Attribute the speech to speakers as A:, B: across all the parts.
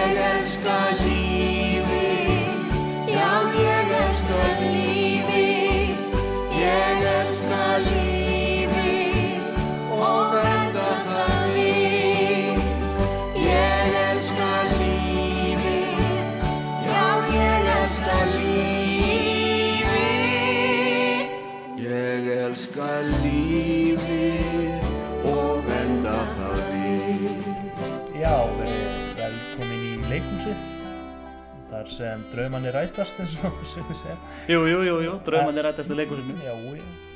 A: elska lífið, já ég elska lífið, ég elska lífið og vernda það líf. Ég elska lífið, já ég elska lífið, ég elska lífið og vernda það líf.
B: Já, verið velkomin í leikúsið þar sem draumanni rætast eins og sem við segja
C: Jú, jú, jú, jú, draumann er rættast í leikhúsinu
B: Já, já.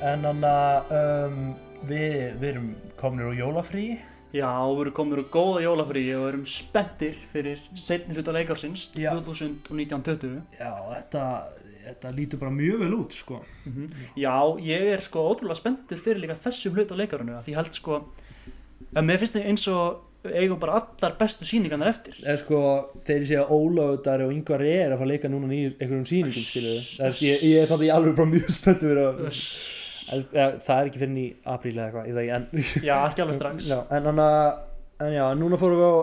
B: en annað um, við, við erum kominir úr jólafrí
C: Já, við erum komin úr góða jólafríi og erum spenntir fyrir setni hluta leikársins
B: Já.
C: 2019-20
B: Já, þetta, þetta lítur bara mjög vel út sko
C: Já, ég er sko ótrúlega spenntur fyrir líka þessum hluta leikarinu því ég held sko að mér finnst þið eins og við eigum bara allar bestu síningarnar eftir
D: En sko, þeir sé að Ólaugdari og Yngvar E er að fara að leika núna í einhverjum sýningum, skiluðu. Þess, ég, ég er svolítið alveg bara mjög spennt fyrir að... En, ja, það er ekki fyrir í apríl eða eitthvað, ég það ekki,
C: Já, ekki alveg
D: en...
C: strax
D: Já, en hann að... En já, en núna fórum við á uh,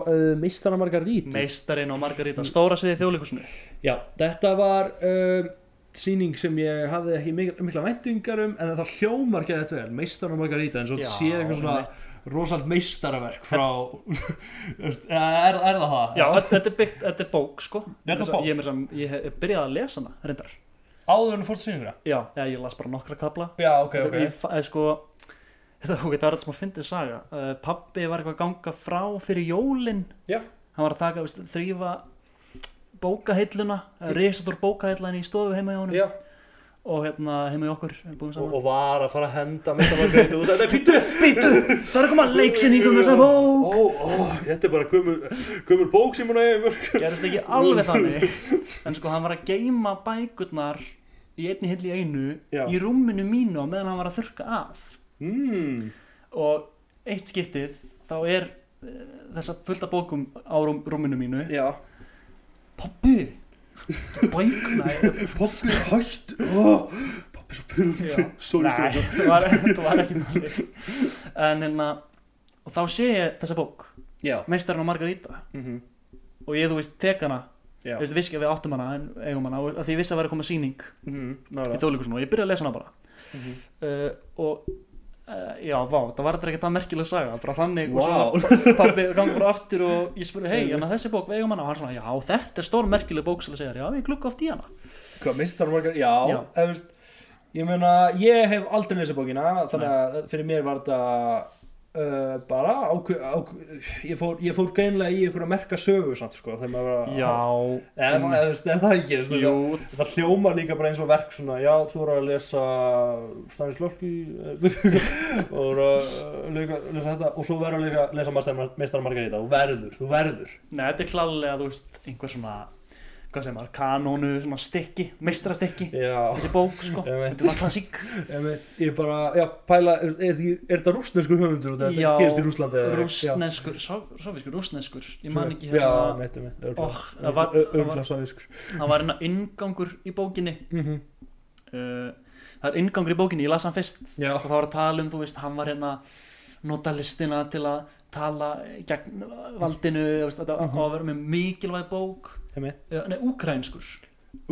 D: Meistana Margarítu.
C: Meistarinn og Margarita, stóra sviði þjóðleikusinu
D: Já, þetta var um, sýning sem ég hafði ekki mikla, mikla væntingar um en það hljómar ekki þetta vel, meistar og margarita en svo
C: Já,
D: sé eitthvað svona
C: einmitt.
D: rosalt meistaraverk frá Veist, er, er það það?
C: Já, þetta er byggt, þetta er bók sko
B: Þetta er bók?
C: Ég, ég, ég, ég hef byrjað að lesa hana, reyndar
B: Áður en þú fórst sýninguna
C: Já, já, ég las bara nokkra kabla
B: Já, ok,
C: okay,
B: ok
C: okay. Ég, fa- eh, sko, þetta ok, það er þetta sem að fyndið saga uh, pappi var eitthvað að ganga frá fyrir jólin
D: Já.
C: hann var að taka, veist, þrýfa bókahilluna, risatur bókahillan í stofu heima hjá honum
D: Já.
C: og hérna heima hjá okkur við búum
D: Og,
C: saman
D: og var að fara að henda meistar og margarita út af þetta pítu
C: Býtu, það er að koma leiksinningu með þessa
D: Ó,
C: bók
D: ó, þetta er bara gömur, gömur bók sem hún er mörg
C: gerist ekki alveg þannig en sko hann var að geyma bækurnar í einni hill í einu
D: Já.
C: í rúminu mínu á meðan hann var að þurka af
D: mm,
C: og eitt skiptið þá er eh, þessa fullta bókum á rúm, rúminu mínu
D: Já
C: Pappi bækna
D: Poppi hætt oh, Poppi svo
C: Já.
D: pyrrandi Sorry,
C: Nei,
D: strákar.
C: það var, það var ekki máli en hérna og þá sé ég þessa bók
D: Já
C: meistarinn og Margarita
D: Mhm.
C: og ég þú veist tek hana
D: Já.
C: Þú veist, vissi ekki að við áttum hana en eigum hana og að því ég vissi að vera að koma sýning
D: Mhm,
C: í
D: nálega.
C: þjóðleikusinu og ég byrja að lesa hana bara uh, og uh, já, vá, það var þetta ekki það merkilega saga bara þannig
D: Vá.
C: og svo pabbi gangi frá aftur og ég spurði, hei, en að þessi bók vegum hana og hann svona, já, þetta er stór merkileg bók sem það segir, já, ég glugga oft í hana
D: Hvað, Mr. Morgan, já, já.
C: Já.
D: Eða, veist, ég meina, ég hef aldrei lesið bókina, þannig að fyrir mér var þetta uh, bara ákveð, ákveð, ég, fór, ég fór greinlega í einhverja merka sögu samt, sko, þegar maður var að... Eða, maður- eða, veist, eða það ekki, veist,
C: jú,
D: þetta- það hljómar líka bara eins og verk svona, já, þú voru að lesa Stanis Lorki, og voru að líka, lesa þetta, og svo verður líka að lesa Mr. Margarita, þú verður, þú verður.
C: Nei, þetta er klálega, þú veist, einhver svona hvað segir maður, kanónu, svona stikki meistrastikki,
D: Já.
C: þessi bók, sko
D: Ég veit.
C: þetta var klassík,
D: Ég, ég bara, já, pæla, er, er, er þetta rústneskur höfundur og þetta
C: Já,
D: gerist í Rúslandi? eða-
C: rústneskur sofískur, rústneskur, ég man ekki
D: Eh, Já,
C: hérna
D: meitum við
C: oh, það var, það var,
D: Örgla sáviskur
C: það var hérna inngangur í bókinni
D: Mhm.
C: uh, það er inngangur í bókinni, ég las hann fyrst
D: Já.
C: og það var að tala um, þú veist, hann var hérna nota listina til að tala gegn valdinu þú veist,
D: Mhm.
C: þetta á að vera með mikilvæg bók uh, nei, úkrænskur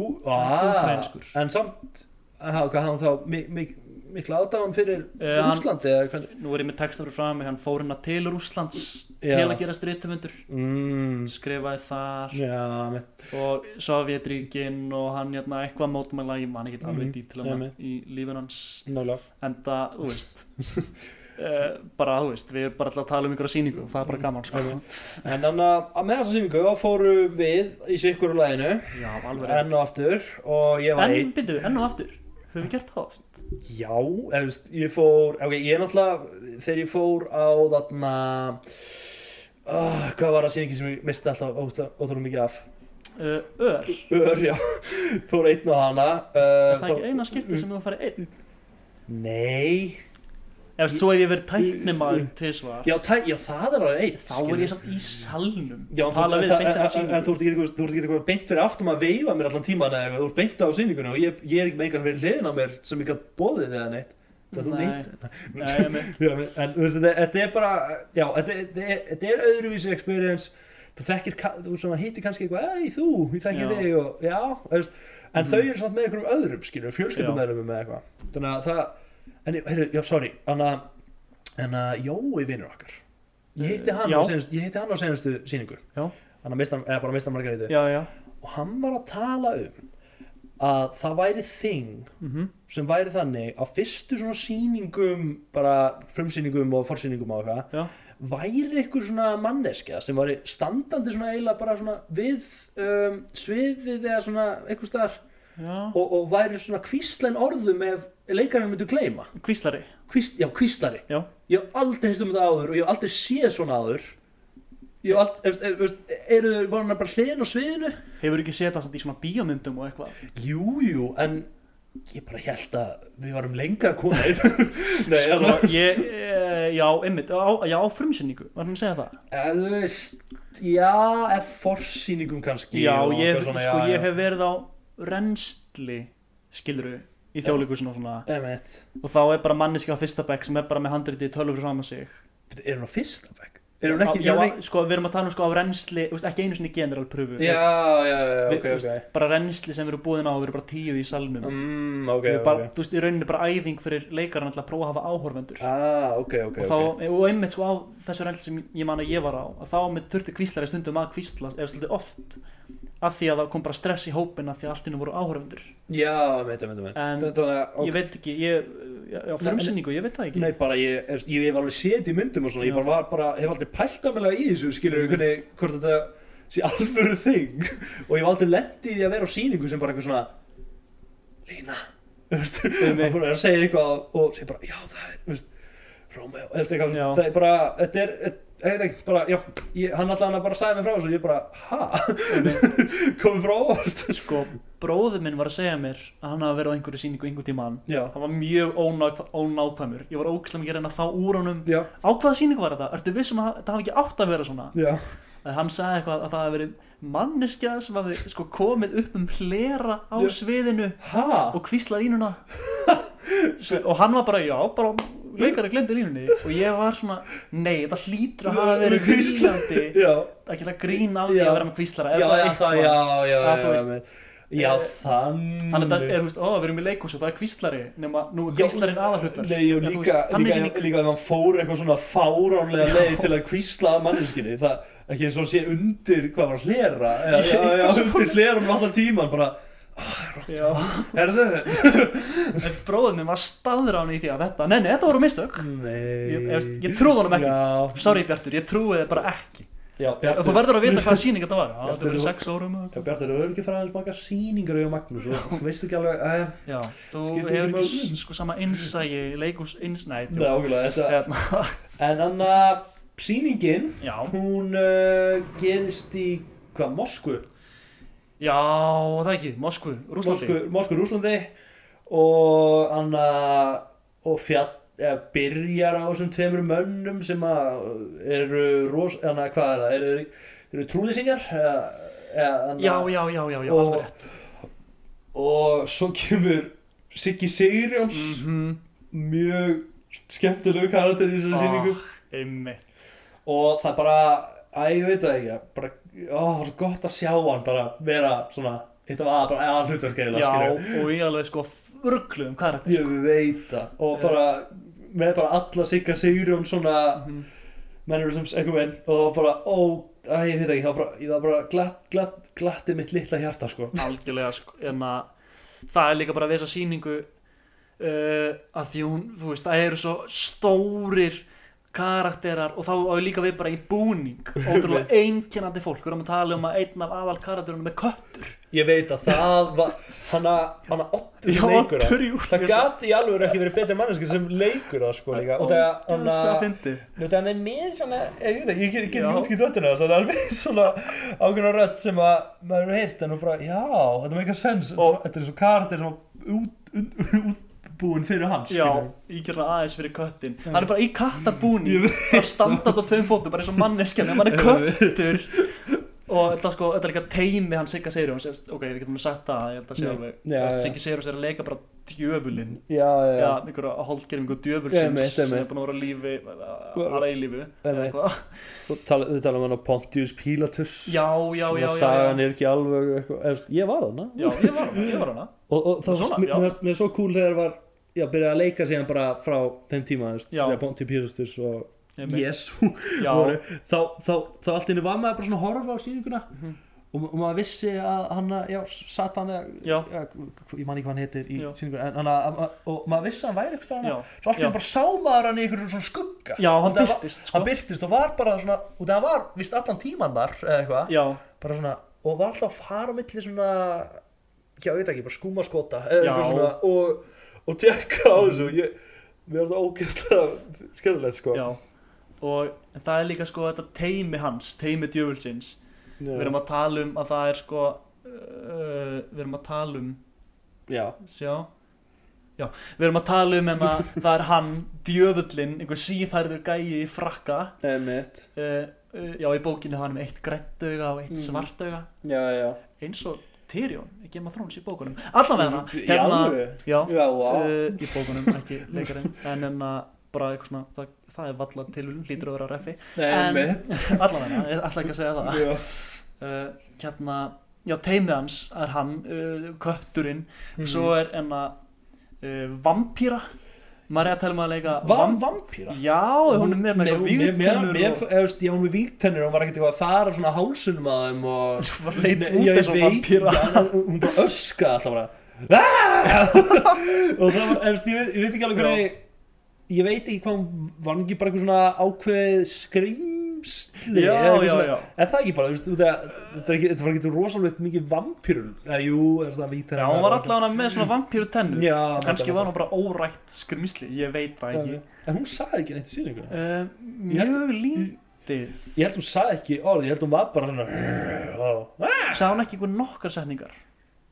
C: Úkraínskur.
D: En samt, aha, hvað hann þá mi- mi- mikla aðdáðan fyrir
C: Eh, hann-
D: Rúslandi eða hvernig
C: nú er ég með texta fyrir fram mig, hann fór hérna til Rúslands
D: Já.
C: til að gera strítumundur
D: Mm,
C: skrifaði þar
D: Já, með
C: og Sovjetríkin og hann hérna eitthvað mótmæla ég man ekki alveg
D: Mhm,
C: dítilana
D: einmitt.
C: í lífin hans
D: Nála
C: en það, þú veist uh, bara, þú veist, við erum bara alltaf að tala um einhverja sýningu og það
D: Mm,
C: er bara gaman sko.
D: En þannig að- að með þessa sýningu þá fóru við í sikkur úr læginu
C: já, alveg
D: Enn
C: rétt
D: og aftur Og ég var
C: en,
D: einn
C: byrju, enn og aftur, höfum við gert það oft
D: Já, eða, veist, ég fór ok, Ég er náttúrulega, þegar ég fór á þarna Uh, hvað var það sýningi sem ég misti alltaf ótrú- ótrúlega mikið af?
C: uh, ör,
D: Ör, já, fór einn á hana uh,
C: er það ekki eina skipti sem þú að fara einn
D: Nei Mm,
C: ef veist, svo hef ég verið tæknimaður tvisvar
D: já, tæ, já, það er alveg einn
C: þá er ég samt í salnum
D: Já, en þú-
C: tala við
D: en-
C: beint
D: en-
C: eftir
D: en- En þú ert
C: sýningu
D: ekki eitthvað- þú ert ekki eitthvað beint fyrir aftum að veifa mér allan tíman eða eitthvað, þú ert beint á sýningunni og ég, ég er ekki með einhvern fyrir hliðin á mér sem ég gat bóðið eða neitt Það þú
C: Nei.
D: neitt
C: Nei, einmitt.
D: Já, en þú veist, þetta þetta er bara já, þetta, þetta, er- þetta er öðruvísi experience þú þekkir, ka- þú svona, hittir kannski eitthvað ei þú, ég þekki
C: Já. Mhm.
D: þig og já þú veist, en þau eru samt með einhverjum öðrum skilur, fjölskyldumeðlumum með eitthvað þannig að það, en heyrðu, já sorry þannig að, en að Jói vinnur okkar ég hitti hann,
C: Eh, Já.
D: á seinustu, ég hitti hann á senastu síningu
C: Já.
D: hann að mista, eða bara mista margar
C: já, já,
D: og hann var að tala um að það væri þing sem væri þannig að fyrstu svona sýningum bara frumsýningum og forsýningum og eitthvað
C: já,
D: væri eitthvað svona manneskja sem væri standandi svona eiginlega bara svona við um, sviðið eða svona eitthvað staðar
C: já.
D: og, og væri svona kvíslein orðum ef leikarinn myndu gleyma
C: Kvíslari,
D: Kvist, já, kvíslari
C: já,
D: ég hef aldrei hitt um þetta áður og ég hef aldrei séð svona áður ég hef aldrei, ef- ef- ef- eru þau, var hann bara hliðin á sviðinu
C: hefur ekki setað þetta í svona bíómyndum og eitthvað
D: Jú, jú, en ég bara held að við varum lengra að koma í þetta. Nei, hérna.
C: Sko,
D: alveg,
C: ég, e, já, einmitt, á, já, á frumsynningu, var hann að segja það?
D: eða Eh, þú veist, já, eða forsýningum kannski.
C: Já,
D: og
C: ég,
D: eitthvað svona,
C: sko,
D: já,
C: ég
D: já.
C: hef verið á rennsli, skiluru, í þjóðleikusinu og svona,
D: Emmett,
C: og þá er bara manneski á fyrsta bekk sem er bara með handritið tölvur saman sig.
D: byrju, er hún á fyrsta bekk? Er hún ekki,
C: já,
D: er hún ekki?
C: sko, við erum að tala um sko á rennsli, þú veist, ekki einu sinni general pröfu,
D: Já,
C: þú
D: já, já,
C: við-
D: ok,
C: þú
D: ok.
C: veist, bara rennsli sem við erum búin á, við erum bara tíu í salnum.
D: Mm, ok,
C: Við erum bara,
D: ok.
C: Þú veist, í rauninni bara æfing fyrir leikarinn alltaf að prófa að hafa áhorfendur.
D: Ah, ok, ok,
C: og,
D: ok.
C: þá, og einmitt sko á þessu reynd sem ég man að ég var á að þá með þurfti kvíslari stundum að kvísla eða svolítið oft af því að það kom bara stress í hópin af því að allt innum voru áhörfundur
D: Já, emmett, emmett, emmett.
C: En-
D: Þannig að,
C: ég veit ekki, ég, já, frumsynningu, ég veit það ekki
D: Nei, bara ég, ég, ég hef alveg séð þetta í myndum og svona, ég
C: Já. Mhm.
D: bara, var, bara hef aldrei pælt að í þessu, skilur við hvernig, hvort þetta sé alvöru þing og ég hef aldrei lendið í því að vera á sýningu sem bara eitthvað svona, Lína, þú veist,
C: Einmitt.
D: maður er að segja eitthvað og segja bara, já það er, þú veist, Rómeó, þú veist, eitthvað,
C: Já.
D: það er bara, þetta er, ég veit ekki, bara, já, ég, hann allan að bara sagði mig frá þessu og ég bara, ha, komið frá óvart.
C: sko, bróður minn var að segja mér að hann hafa verið á einhverju sýningu einhver tímann
D: Já,
C: hann var mjög ónák, ónákvæmur ég var ógislega mikið að reyna að fá úr honum
D: já,
C: á hvaða sýningu var þetta, ertu vissum að það hafi ekki átt að vera svona
D: já,
C: að hann sagði eitthvað að það hafi verið manneskja sem hafi sko komið upp um hlera á
D: Já.
C: sviðinu
D: ha,
C: og kvísla línuna S- og hann var bara, já, bara leikari glemdi línunni og ég var svona, nei, þetta hlýtur að hafa verið kvíslandi
D: já.
C: að geta grín af því
D: Já.
C: að vera með kvíslara
D: já, já, það, já, já,
C: Já,
D: já,
C: þú veist.
D: já, já, já,
C: Eh,
D: þannig
C: þannig að þetta er, þú veist, ó, við erum í leikhúsi og það er kvíslari nema nú er
D: Já,
C: kvíslarinn aðalhutar
D: Nei, já, líka,
C: þannig
D: líka,
C: sem
D: líka, líka ef hann fór eitthvað svona fáránlega leið til að kvísla að manneskinni það ekki eins og sé undir hvað var hlera já, já, já, undir hlera um allan tíman bara,
C: já,
D: herðu
C: en bróðum minn var staðrán í því að þetta, nei, nei, þetta voru mistök ég, ég, veist, ég trúði honum ekki,
D: já,
C: sorry Bjartur, ég trúði þið bara ekki
D: já,
C: og þú
D: Mm. Bjartur
C: verður að vita hvaða síning þetta var, Já,
D: Bjartur,
C: þetta verið
D: þú-
C: sex árum eða eitthvað.
D: Já, Bjartur, þú hefur ekki farað aðeins baka sýningar auðvitað Magnús og þú veist ekki alveg uh,
C: Já, þú
D: Skiptir ekki
C: hefur
D: máli.
C: ekki sko sama innsægi, leikús innsnætt
D: Nei, ógulega, þetta
C: Hérna,
D: En annað, sýningin
C: já,
D: hún uh, gerist í, hvað, Moskvu?
C: já, það ekki, Moskvu, Rúslandi
D: Moskvu, Moskvu Rúslandi og hann að og fjall eða byrjar á þessum tveimur mönnum sem að eru ros, hana, hvað er það, eru, eru trúlýsingar eða, eða, hana-
C: Já, já, já, já, já,
D: Og-
C: alveg rétt
D: og svo kemur Siggi Sigurjóns
C: Mhm.
D: Mhm. mjög skemmtilegu karakter í þessari
C: Ah.
D: sýningu
C: Einmitt
D: og það bara, að ég veit það ekki bara, ó, það var svo gott að sjá hann bara vera svona, þetta var bara eða hlutverk eða
C: Já, og ég alveg sko örglu um karakter
D: Ég veit það Og bara með bara alla Sigga Sigurjón svona
C: Mhm.
D: mannerisms einhvern veginn og bara ó, að ég veit ekki, það var bara, það var bara glatt, glatt, glatti mitt litla hjarta sko
C: Algjörlega, sko, en að það er líka bara við þessa sýningu uh, að því hún, þú veist, það eru svo stórir karakterar og þá á ég líka við bara í búning ótrúlega einkennandi fólk, við erum að tala um að einn af aðal karakterunum er köttur
D: Ég veit að það var, hana, hana ottur
C: Já,
D: leikur
C: Oddur
D: það Það
C: Júlíusson.
D: gat í alveg ekki verið betri manneski sem leikur það sko líka Og það
C: Ógeðslega
D: hana,
C: fyndið.
D: þetta hann er með svona, eh, ég veit ekki, ég get- ég get
C: Já.
D: ekki útskipt röddina þess að Það er alveg svona ákveðna rödd sem að maður hefur heyrt en hún bara, já, þetta er meika sens
C: Og-
D: Þetta er svo karakter sem var út, út, útbúin fyrir hans
C: Já,
D: skilurðu.
C: ég gerði aðeins fyrir köttin Hann er bara í kattabúni Bara standað á tveim fótum, bara eins og manneskjan En hann er köttur Og þetta sko, þetta er líka teimi hann Sigga Seyrjóns Ok, við getum sagt það, ég held að segja
D: Nei.
C: alveg
D: Já,
C: Þú veist,
D: já.
C: Siggi Seyrjóns er að leika bara djöfulinn
D: já, já,
C: já,
D: já.
C: einhverja
D: Já,
C: holdgerfingu
D: einmitt,
C: djöfulsins sem er
D: einmitt.
C: búin að vera á lífi að eilífu eða
D: Einmitt.
C: eitthvað.
D: Þú tala, þau tala um hann á Pontius Pilatus
C: já, já, já,
D: og
C: já,
D: sagan
C: já.
D: er ekki alveg eitthvað, eða, ég var þarna
C: já, ég var hana, ég var hana
D: og, og það
C: Svona,
D: var, mér
C: já.
D: mér er svo cool þegar var já, byrjaði að leika síðan bara frá þeim tíma, þú veist,
C: Já.
D: þegar Pontius Pilatus og
C: Einmitt.
D: Jésu
C: já,
D: voru, þá, þá, þá allt inni var maður bara svona að horfa á sýninguna
C: Mhm.
D: og, og maður vissi að hann já, Satan eða-
C: já,
D: já, hv- ég man ekki hvað hann heitir í
C: Já.
D: sýningunni en, hann, að- að- að- og maður vissi að hann væri eitthvað
C: já,
D: hann svo allt
C: Já.
D: inni bara sá maður hann í einhverjum svona skugga
C: já, hann
D: Og það var-
C: byrtist sko.
D: hann byrtist og var bara svona og það var vist allan tíman þar eða eitthvað
C: já,
D: bara svona og var alltaf að fara á milli svona já, ég veit ekki, bara skúmaskota eða
C: Já. Mhm.
D: eitthvað svona og, og tekka á þessu og ég, mér var það ógeðslega skemmtilegt sko
C: já og en það er líka sko þetta teimi hans teimi djöfulsins
D: Já.
C: við erum að tala um að það er sko uh, við erum að tala um
D: já.
C: sjá já, við erum að tala um en að það er hann djöfullin, einhver síðhærður gæi í frakka uh,
D: Emitt
C: uh, já, í bókinni það er með eitt grættauga og eitt mm. svartauga
D: Já, já
C: eins og Tyrion, ekki maður þróns í bókunum allavega
D: Í
C: hérna
D: alvöru?
C: já,
D: Já, vá.
C: uh, í bókunum, ekki leikarinn en en að bara eitthvað svona það, það er valla til lítur að vera refi En- allavega, hérna, ég ætla ekki að segja það
D: Já.
C: uh, hérna, já, teimið hans er hann, uh, kötturinn
D: Mhm.
C: svo er enna uh, vampýra Marja telma að leika
D: Var hún
C: vamp-
D: vampíra?
C: já, hún er meira
D: Mér- mér- mér-
C: vígtennur
D: mér-
C: og-
D: eða, veist, Já, hún er vígtennur Hún var ekkert eitthvað að fara svona hálsunum að þeim og
C: Var leit
D: Nei,
C: út
D: já, ég
C: eins og
D: veit,
C: vampýra
D: já, en Hún bara öskaði alltaf bara "Ah!" Og það var, eða, veist, ég veit, ég veit ekki alveg hvernig Ég veit ekki hvað hún var hún ekki bara eitthvað svona ákveð skrýmsli
C: Já,
D: eða eitthvað
C: já,
D: svona-
C: já.
D: Er það ekki bara, þú veist, þú veit að- þetta er ekki- þetta var ekki rosalega mikið vampýrun Jú, það hérna er vígtennur
C: Já, hún var allavega með svona vampýru tennur
D: Já,
C: Kannski
D: þetta-
C: var hún bara órætt skrýmsli, ég veit það ekki
D: En hún sagði ekki neitt í sýninguna
C: uh,
D: Ég held-
C: Mjög lítið
D: Ég held hún sagði ekki orð, ég held hún var bara svona
C: Sá hún ekki einhver nokkar setningar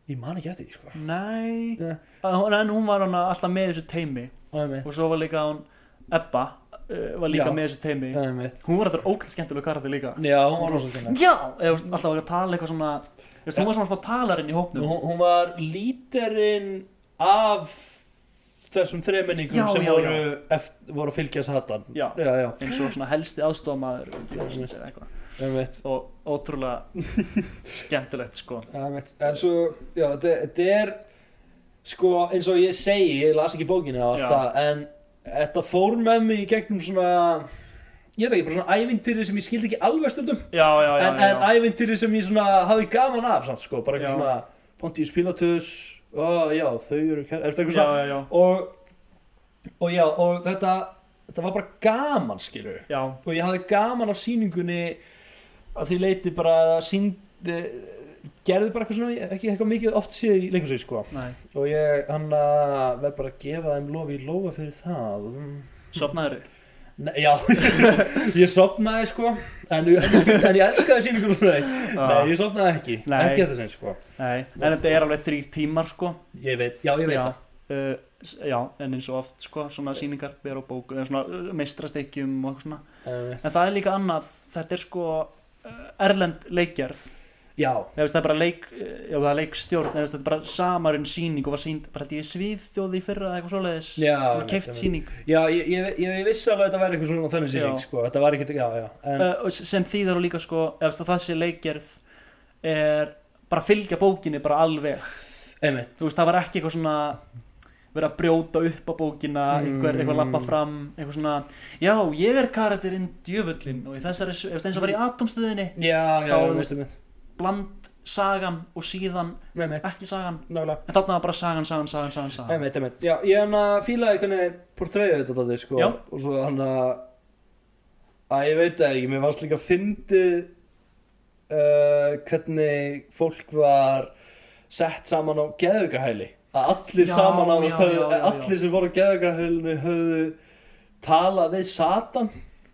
D: Ég man ekki eftir því sko
C: Nei
D: Nei.
C: Að hún- En hún var hana alltaf með þessu teimi
D: Það er mitt
C: Og svo var líka hún Ebba uh, var líka
D: Já.
C: með þessu teimi
D: Það er mitt
C: Hún var þetta ógætt skemmtilega karakter líka
D: Já, hún var rosa sinna
C: Já, eða þú veist, alltaf var að tala eitthvað svona þú veist, Hún var svona smá talarinn í hópnum
D: hún, hún var líterinn af þessum þreiminningum
C: Já,
D: sem
C: já,
D: voru, Eftir, voru að fylgjast hattan
C: Já.
D: já, já,
C: eins og svona helsti aðstofamaður og
D: það er mitt
C: ótrúlega skemmtilegt sko
D: Það er mitt En svo, já, þetta- þetta er sko, eins og ég segi, ég las ekki bókina og allt
C: Já.
D: það En þetta fór með mig í gegnum svona Ég veit ekki, bara svona ævintýri sem ég skildi ekki alveg stundum
C: Já, já, já,
D: en,
C: já,
D: en
C: já.
D: ævintýri sem ég svona hafi gaman af samt sko, bara eitthvað
C: Já.
D: svona Pontius Pilatus, ó já þau eru, kær- eftir eitthvað svona
C: já, já, já,
D: og, og já, og þetta þetta var bara gaman skilur
C: já,
D: og Sko, ég hafi gaman af sýningunni að því leiti bara að það síndi gerði bara eitthvað svona ekki eitthvað mikið oft séð í leikhúsi sko
C: næ,
D: og ég hann að verð bara að gefa þeim lofi í lofa fyrir það
C: sopnaður
D: Nei, já, ég sopnaði sko en, ég elska- en ég elskaði sýninguna svona Nei, ég sofnaði ekki,
C: Nei.
D: ekki að þessu sko.
C: Ah, Nei, en þetta er alveg þrý tímar sko
D: Ég veit, já ég veit
C: já,
D: það
C: uh, s- já, en eins og oft sko svona sýningar ber á bóku, eða svona meistrastekkjum og eitthvað svona,
D: En
C: en það er líka annað þetta er sko uh, erlend leikgerð,
D: Já,
C: eða veist það er bara leik uh, já, það er leikstjórn, eða veist þetta er bara samarinn sýning og var sýnd, bara held ég svíðþjóði í fyrra eða eitthvað svoleiðis,
D: Já,
C: það
D: einmitt,
C: var keift
D: einmitt.
C: sýning
D: já ég, ég, ég, ég vissi alveg að þetta væri eitthvað svona þannig sýning
C: Já.
D: sko. Þetta var ekkert, já, já en,
C: uh, og s- sem þýðar og líka sko, eða veist að það sé leikgerð er bara að fylgja bókinni bara alveg
D: Einmitt
C: Eh, þú veist, það var ekki eitthvað svona verið að brjóta upp á bókina einhver, eitthvað
D: Mm.
C: lappa fram, eitthvað svona já, ég er karakterinn djöfullin og í þessari, eða eins og var í atomstöðinni
D: Já, já,
C: Þá-
D: ég veist það
C: bland sagan og síðan
D: Einmitt,
C: ekki sagan,
D: nálega
C: en þarna var bara sagan, sagan, sagan, sagan, sagan
D: Einmitt, einmitt Já, ég hann að fílaði hvernig portræðu þetta þarna sko
C: Já.
D: Og svo hann að Æ, ég veit það ekki, mér varst líka fyndið uh, Hvernig fólk var sett saman á geðugahæli Að allir
C: Já,
D: saman á
C: já,
D: höfðu,
C: já, já, já.
D: allir sem voru á geðugahælinu höfðu talað við Satan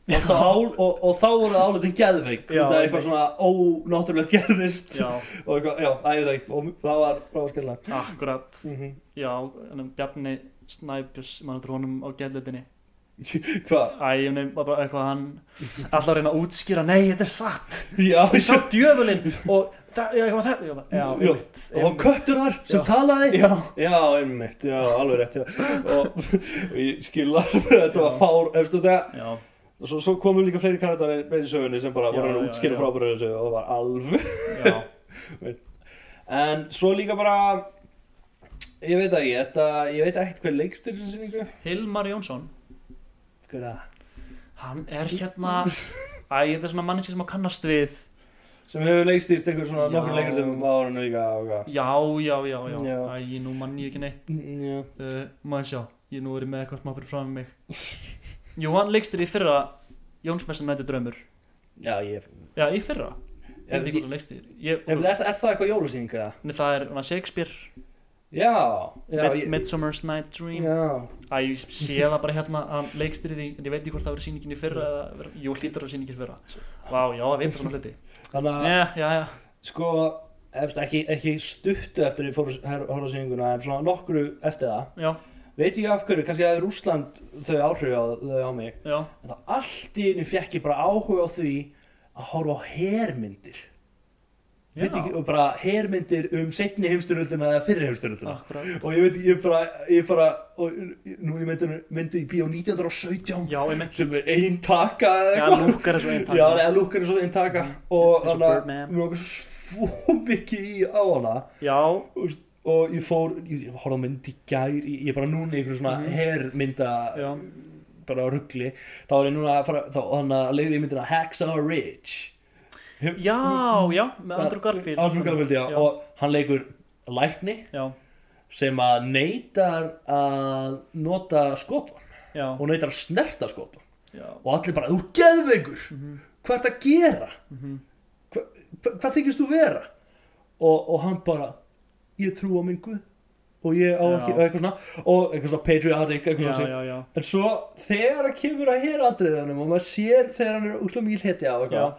D: og, hál, og, og þá voru það álutin geðveik
C: Já,
D: Þetta er eitthvað
C: einmitt.
D: svona ónáttúrulegt gerðist
C: já,
D: Og eitthvað, já, æ, ég veit það ekki Og það var, það var skillega
C: akkurat
D: mm -hmm.
C: já, en um Bjarni Snæbjörns, mann þetta honum á gæðleitinni
D: Hvað?
C: Æ, ég nefn bara eitthvað hann Alltaf að reyna að útskýra, nei, þetta er satt
D: Já,
C: Ég sá djöfulinn og það, já, eitthvað það Já, bara, já,
D: Já.
C: einmitt,
D: og
C: einmitt
D: kötturar sem talaði
C: Já,
D: Já, einmitt, já, alveg rétt já. og, og ég skil alveg að þetta var fár eftir þetta
C: já,
D: og svo, svo komu líka fleiri karakterar með í sögunni sem bara
C: Já,
D: voru að
C: já,
D: útskýra
C: já.
D: frábæra þessu og það var alveg
C: já
D: en svo líka bara ég veit ekki, þetta, ég veit ekkert hver leikstir sem sinningu
C: Hilmar Jónsson
D: Hver er það?
C: Hann er hérna Æ, þetta er svona manneski sem að kannast við
D: sem hefur leikstýrt einhver svona nokkur
C: Já.
D: leikur sem var hann líka og hvað
C: Já, já, já, já
D: Já.
C: Æ, nú mann ég ekki neitt
D: Já.
C: uh, Maður sjá, ég nú er ég með eitthvað smá fyrir fram mig Jú, hann leikstir í fyrra Jónsmessan nætti draumur
D: Já, ég
C: Já, í fyrra Ég veit
D: Er,
C: ekki hvað hann leikstir ég,
D: er, er, er það eitthvað jólusýning eða?
C: Nei, það er hana, Shakespeare
D: Já, já,
C: Mid
D: ég-
C: Midsummer's Night Dream
D: já.
C: Æ, ég sé það bara hérna að leikstýri því en ég veit ekki hvort það verið sýningin í fyrra eða, jú, hlýtur á sýningin í fyrra Vá, já, það veit það svona hluti
D: Þannig að
C: Já, já, já,
D: sko efst, ekki, ekki stuttu eftir ég fór að horfa sýninguna en svona nokkru eftir það
C: já,
D: veit ég af hverju, kannski að Rússland þau áhrif á þau á mig
C: já.
D: en það allt í einu fekk ég bara áhuga á því að horfa á hermyndir veit
C: Já.
D: ekki, og bara hermyndir um setni heimsturöldina eða fyrri heimsturöldina
C: Akkurat
D: og ég veit, ég bara, ég bara og nú er ég myndi, myndi í bíó 1917
C: Já, ég meint
D: sem er ein taka eða
C: Já,
D: eitthvað.
C: lúkar þessu einn
D: Já, eða lúkar er svo einn taka og
C: Eins og
D: þannig að
C: Birdman.
D: mér var svo mikið í á hana
C: Já,
D: Úst, og ég fór, ég, ég horfði á mynd í gær ég, ég er bara núna í einhverju svona
C: Mhm.
D: hermynda
C: já,
D: bara ruggli þá er ég núna að fara, þá hann að leiði ég myndina Hacksaw Ridge
C: já, já, með Andrew Garfield
D: Andrew Garfield, já,
C: já,
D: og hann leikur lækni
C: já,
D: sem að neytar að nota skotvon
C: já,
D: og neytar að snerta skotvon
C: já.
D: og allir bara, þú geðveikur hvað ert að gera Hva, hva- hvað þykist þú vera og, og hann bara ég trú á minn guð og ég á
C: Já.
D: ekki, og eitthvað svona og eitthvað svona patriotic eitthvað
C: Já,
D: svona
C: já, já,
D: en svo þegar að kemur að hér aðriðanum og maður sér þegar hann er útla mikil heti á
C: já,
D: eitthvað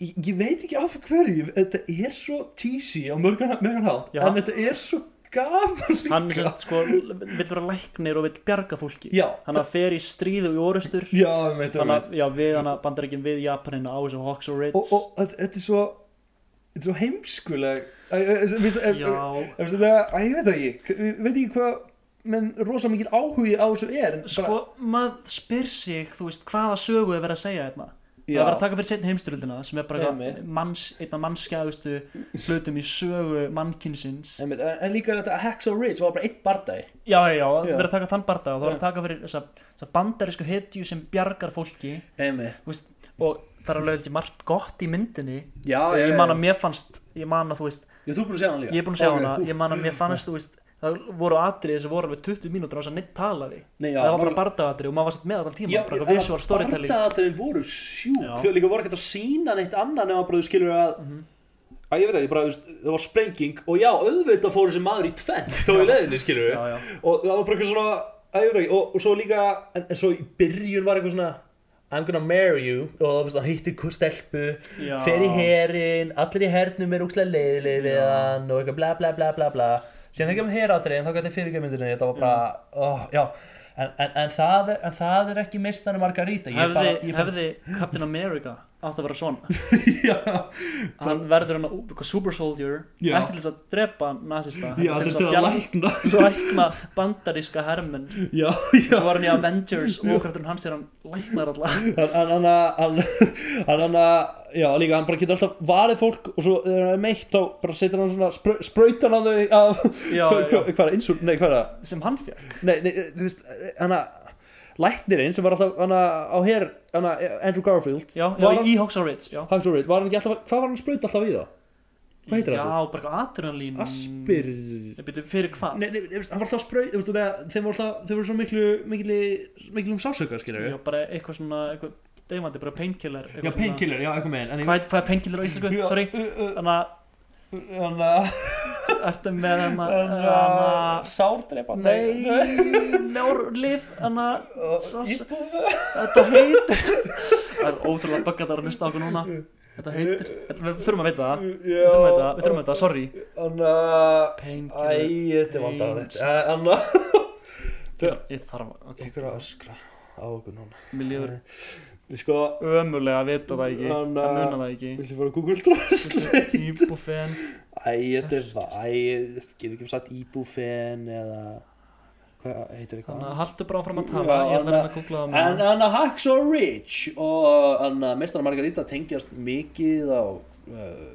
D: ég, ég veit ekki af hverju þetta er svo cheesy á mörgan, mörgan hátt
C: Já.
D: en þetta er svo gaman líka.
C: Hann sem sagt, sko vill vera læknir og vill bjarga fólki
D: já,
C: Hann að fer í stríð og í orustur
D: já, ég veit
C: Hann að, já, við hann að bandar ekki við Japanina á þessu Hawks og
D: og,
C: Ritz
D: og að- þetta er svo þetta er svo heimskuleg Æ, æ, æ, veistu, æ, æ,
C: Já,
D: veistu það- æ, ég veit það ekki K- ég veit ekki hvað menn rosa mikil áhugi á þessu er en bara-
C: sko, maður spyr sig, þú veist, hvaða sögu er verið að segja hérna Það
D: Já.
C: er verið að taka fyrir setni heimstyrjöldina sem er bara
D: Einmitt.
C: manns, einn af mannskjæðustu hlutum í sögu mannkynsins
D: en, en, en líka þetta að Hacksaw Ridge var bara eitt bardagi
C: Já, já, já, það
D: Já.
C: verður að taka þann barndag og það verður
D: Já.
C: að taka fyrir þessa, þessa bandarísku hetju sem bjargar fólki
D: Einmitt.
C: þú veist, og það er alveg ekki margt gott í myndinni
D: já,
C: og
D: já,
C: ég man að
D: já.
C: mér fannst, ég man að þú veist
D: já, þú er búin að segja hann líka
C: ég er búin að segja
D: Ok,
C: hana,
D: hú.
C: ég man að mér fannst þú veist, það voru atriði sem voru alveg 20 mínútur á þess að neitt talaði
D: Nei, já,
C: það var bara
D: nákvæmlega.
C: bardagatriði og maður var satt með allan tíma
D: Já,
C: bara
D: en
C: eitthvað visual storytelling
D: bardagatriðin voru sjúk
C: Já. Mhm.
D: þau líka voru ekkert að sína neitt annað nema bara þú skilur að Æ, ég veit ekki, bara, þú veist, það var sprenging og já, auðvitað fór þessi maður í tvenn þá í leiðinni, skilur við
C: já, já,
D: og það var bara eitthvað svona að ég veit ekki, og, og svo líka en, en svo í byrjun var eitthvað svona I'm gonna marry you og þú veist, hann hittir hvort stelpu
C: Já.
D: fer í herin, allir í hernum er úkslega leiðileg við hann og eitthvað bla bla bla bla bla síðan þegar um heratriðin þá gæti fyrirgjömyndinu þetta var bara, oh, já en, en, en, það, en það er ekki mistanu Margarita ég er bara, ég
C: hefði,
D: bara,
C: hefði Captain America átt að vera svona
D: já,
C: hann verður hann að super soldier
D: Já.
C: ekki til þess að drepa nazista
D: já,
C: heldur
D: þetta er að
C: bjar-
D: lækna
C: lækna bandaríska hermenn
D: já, já
C: svo var hann í Avengers og hvernig hans er hann læknar alla
D: hann hann- hann að- hann- hann hann að já líka hann bara getur alltaf varið fólk og svo þegar hann er meitt þá bara setur hann svona spra- sprautar hann þau af
C: Já,
D: hvað
C: já.
D: hva, hva, insult, nei hvað er það
C: sem hann fekk
D: nei, nei þú veist hann að læknirinn sem var alltaf hann að á hér hann að Andrew Garfield
C: já, já
D: var hann,
C: í Hawks and Ridge já.
D: Hector Reed, var hann ekki alltaf að- hvað var hann að sprauta alltaf í þá Hvað heitir
C: já,
D: það?
C: bara eitthvað adrenalín
D: Aspir
C: Nei, byrju, fyrir hvað?
D: Nei, nei, þú veist, hann var alltaf að sprauta, þú veist, þegar þeim voru alltaf, þeim voru svo miklu, miklu, miklu um sásöka, skilur
C: já, bara eitthvað svona eitthvað deyfandi, bara painkiller eitthvað
D: Já,
C: svona-
D: painkiller, já, eitthvað með henn,
C: hvað, hvað er painkiller á íslensku?
D: Já,
C: sorry þannig að
D: Þannig að
C: ertu með hann að
D: En, uh, Sárdrepa
C: nei, njórlif þannig að
D: Íbúfu
C: Þetta heitir Það er ótrúlega böggat að hlusta á okkur núna Þetta heitir þetta, Við þurfum að veita
D: Ah,
C: það Við þurfum að veita það, við þurfum að veita það, sorry
D: Þannig að Æ,
C: Painkiller
D: þetta er Eh, vandar
C: Pain-
D: þetta Þannig að
C: ég, ég þarf að
D: Ykkur að öskra á okkur núna
C: Mér líður
D: Þið sko,
C: ömulega að vita það ekki
D: Hann,
C: Að
D: uh,
C: muna það ekki
D: viltu fara á Google Translate?
C: Íbúfen
D: Æ, þetta er það Æ, ég getur ekki um sagt íbúfen eða Hvað heitir
C: Þannig
D: eitthvað?
C: að haldu bara fram að tala
D: Já,
C: Ég ætla að
D: þannig
C: reyna
D: að-
C: að googla það á
D: En
C: meðan.
D: hann að Hacksaw Ridge og hann að meistana Margarita tengjast mikið á uh,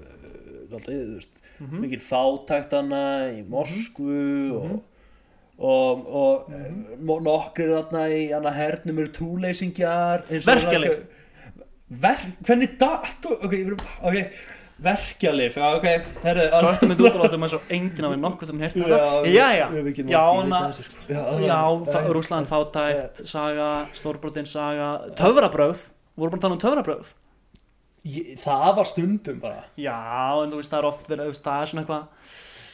D: aldrei, þú veist, mm
C: Mhm.
D: -hmm. mikil fátæktana í Moskvu
C: Mhm.
D: og, og, og mm -hmm. nokkrir þarna í hann að hernum eru trúleysingjar eins og-
C: Verkjalyf.
D: Ver, hvernig datt ok, ég verið- ok verkjalif, já ok herru,
C: Hvað ertu með útráðum eins og enginn af við nokkuð sem hérta það? Já, já, já, hana,
D: sko.
C: já, það- Rússland fátækt, saga, stórbrotin saga, töfrabröð, voru bara að tala um töfrabröð.
D: Ég, það var stundum bara
C: Já, en þú veist, það er oft verið, þú veist, það er svona eitthvað,